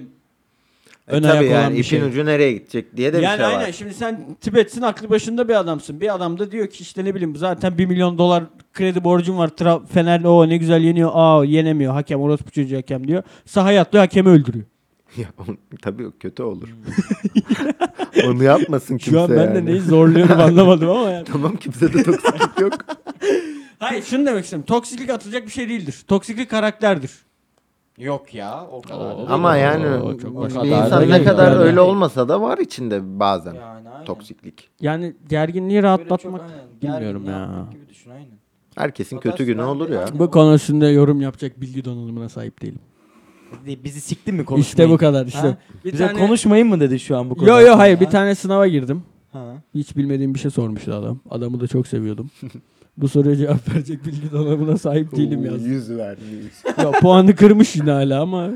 [SPEAKER 2] E
[SPEAKER 1] ön ayak
[SPEAKER 2] tabii
[SPEAKER 1] olan
[SPEAKER 2] yani
[SPEAKER 1] bir
[SPEAKER 2] ipin
[SPEAKER 1] şey.
[SPEAKER 2] ucu nereye gidecek diye de bir
[SPEAKER 1] yani
[SPEAKER 2] şey
[SPEAKER 1] aynen
[SPEAKER 2] var.
[SPEAKER 1] şimdi sen Tibet'sin aklı başında bir adamsın. Bir adam da diyor ki işte ne bileyim zaten 1 milyon dolar kredi borcum var. Tra- Fener'le o ne güzel yeniyor. Aa yenemiyor. Hakem orospu çocuğu hakem diyor. Sahaya atlıyor hakemi öldürüyor.
[SPEAKER 2] Ya, oğlum, tabii o kötü olur. onu yapmasın kimse
[SPEAKER 1] Şu an ben
[SPEAKER 2] yani.
[SPEAKER 1] de neyi zorluyorum anlamadım ama yani.
[SPEAKER 2] Tamam kimse de toksiklik yok.
[SPEAKER 1] Hayır şunu demek istiyorum. Toksiklik atılacak bir şey değildir. Toksiklik karakterdir.
[SPEAKER 3] Yok ya o kadar. da-
[SPEAKER 2] Ama yani
[SPEAKER 1] çok
[SPEAKER 2] bir
[SPEAKER 1] başka.
[SPEAKER 2] insan
[SPEAKER 1] Kadar
[SPEAKER 2] ne
[SPEAKER 1] da
[SPEAKER 2] kadar
[SPEAKER 1] yok.
[SPEAKER 2] öyle olmasa da var içinde bazen
[SPEAKER 3] Yani aynen.
[SPEAKER 2] toksiklik.
[SPEAKER 1] Yani
[SPEAKER 3] Böyle
[SPEAKER 1] gerginliği
[SPEAKER 3] çok
[SPEAKER 1] rahatlatmak
[SPEAKER 3] aynen,
[SPEAKER 1] bilmiyorum
[SPEAKER 3] gergin
[SPEAKER 1] ya.
[SPEAKER 3] yapmak Gibi düşün aynen.
[SPEAKER 2] Herkesin kötü günü olur ya.
[SPEAKER 1] bu konusunda yorum yapacak bilgi donanımına sahip değilim.
[SPEAKER 4] Bizi siktin mi konuşmayı?
[SPEAKER 1] İşte bu kadar işte.
[SPEAKER 4] Ha?
[SPEAKER 1] Bir
[SPEAKER 4] Bize
[SPEAKER 1] tane-
[SPEAKER 4] konuşmayın mı dedi şu an bu konuda?
[SPEAKER 1] Yo yo hayır bir tane sınava girdim.
[SPEAKER 4] Ha.
[SPEAKER 1] Hiç bilmediğim bir şey sormuştu adam. Adamı da çok seviyordum. bu soruya cevap verecek bilgi donanımına sahip değilim
[SPEAKER 2] Oo,
[SPEAKER 1] yazdım.
[SPEAKER 2] Yüz vermiş.
[SPEAKER 1] ya puanı kırmış yine hala ama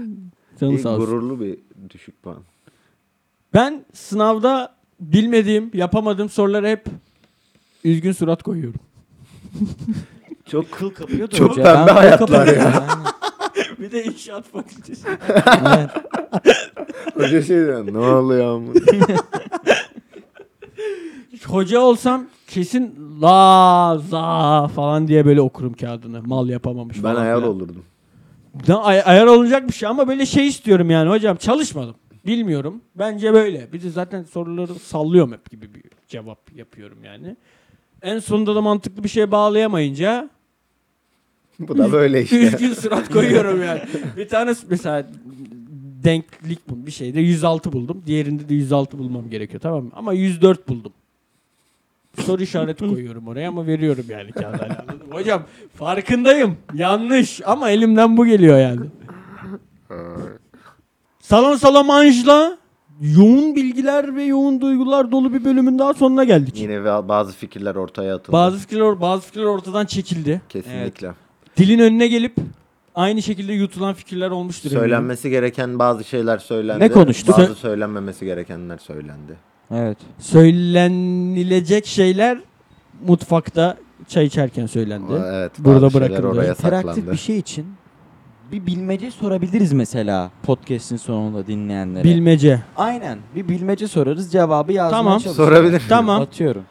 [SPEAKER 1] canı
[SPEAKER 2] İyi,
[SPEAKER 1] sağ olsun.
[SPEAKER 2] gururlu bir düşük puan.
[SPEAKER 1] Ben sınavda bilmediğim, yapamadığım sorulara hep üzgün surat koyuyorum.
[SPEAKER 2] Çok
[SPEAKER 4] Kıl kapıyordu
[SPEAKER 2] Çok
[SPEAKER 4] hoca.
[SPEAKER 2] pembe
[SPEAKER 4] Ben kıl
[SPEAKER 2] hayatlar
[SPEAKER 4] kapıyorum
[SPEAKER 2] ya.
[SPEAKER 4] yani.
[SPEAKER 1] bir de inşaat fakültesi.
[SPEAKER 4] Evet.
[SPEAKER 2] Hoca şey diyor ne oluyor amına?"
[SPEAKER 1] Hoca olsam kesin la za falan diye böyle okurum kağıdını. Mal yapamamış
[SPEAKER 2] Ben
[SPEAKER 1] falan
[SPEAKER 2] ayar
[SPEAKER 1] filan.
[SPEAKER 2] olurdum.
[SPEAKER 1] Da- ay- ayar olacak bir şey ama böyle şey istiyorum yani hocam çalışmadım. Bilmiyorum. Bence böyle. Bir de zaten soruları sallıyorum hep gibi bir cevap yapıyorum yani. En sonunda da mantıklı bir şeye bağlayamayınca
[SPEAKER 2] Bu da böyle işte.
[SPEAKER 1] üzgün surat koyuyorum yani. Bir tane s- mesela denklik bu bir şeyde 106 buldum. Diğerinde de 106 bulmam gerekiyor tamam mı? Ama 104 buldum. Soru işareti koyuyorum oraya ama veriyorum yani kağıda. Anladın mı? Hocam farkındayım. Yanlış ama elimden bu geliyor yani. Salon Salamanj'la yoğun bilgiler ve yoğun duygular dolu bir bölümün daha sonuna geldik.
[SPEAKER 2] Yine va- bazı fikirler ortaya atıldı.
[SPEAKER 1] Bazı fikirler, bazı fikirler ortadan çekildi.
[SPEAKER 2] Kesinlikle.
[SPEAKER 1] Dilin önüne gelip aynı şekilde yutulan fikirler olmuştur. eminim.
[SPEAKER 2] Söylenmesi gereken bazı şeyler söylendi.
[SPEAKER 4] Ne konuştuk?
[SPEAKER 2] Bazı söylenmemesi gerekenler söylendi.
[SPEAKER 4] evet.
[SPEAKER 1] Söylenilecek şeyler mutfakta çay içerken söylendi.
[SPEAKER 2] Ama Evet.
[SPEAKER 1] Burada
[SPEAKER 2] bazı şeyler
[SPEAKER 1] bırakıldı.
[SPEAKER 2] oraya
[SPEAKER 4] Interaktif
[SPEAKER 2] saklandı.
[SPEAKER 4] bir şey için bir bilmece sorabiliriz mesela podcast'in sonunda dinleyenlere.
[SPEAKER 1] Bilmece.
[SPEAKER 4] Aynen. Bir bilmece sorarız cevabı yazmaya
[SPEAKER 1] Tamam.
[SPEAKER 4] çalışırız.
[SPEAKER 2] Sorabilirim.
[SPEAKER 1] Tamam.
[SPEAKER 4] Atıyorum.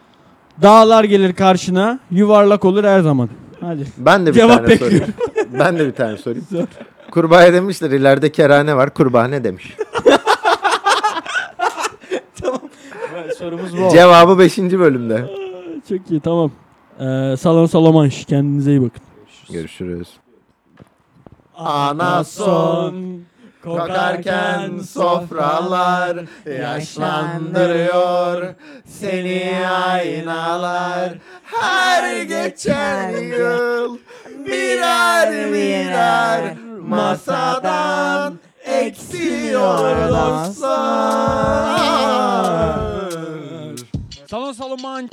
[SPEAKER 1] Dağlar gelir karşına, yuvarlak olur her zaman. Hadi.
[SPEAKER 2] Ben de bir
[SPEAKER 1] Cevap
[SPEAKER 2] tane
[SPEAKER 1] bekliyorum.
[SPEAKER 2] sorayım. ben de bir tane sorayım. Kurbağaya demişler ileride kerane var. Kurbağa ne demiş?
[SPEAKER 4] Sorumuz bu.
[SPEAKER 2] Cevabı 5. bölümde.
[SPEAKER 1] Çok iyi tamam. Ee, Salon Salamanş kendinize iyi bakın.
[SPEAKER 2] Görüşürüz.
[SPEAKER 1] Ana
[SPEAKER 2] son
[SPEAKER 1] kokarken
[SPEAKER 2] sofralar
[SPEAKER 4] yaşlandırıyor
[SPEAKER 2] seni aynalar her geçen yıl birer birer masadan eksiliyor dostlar.
[SPEAKER 1] Salon Salamanş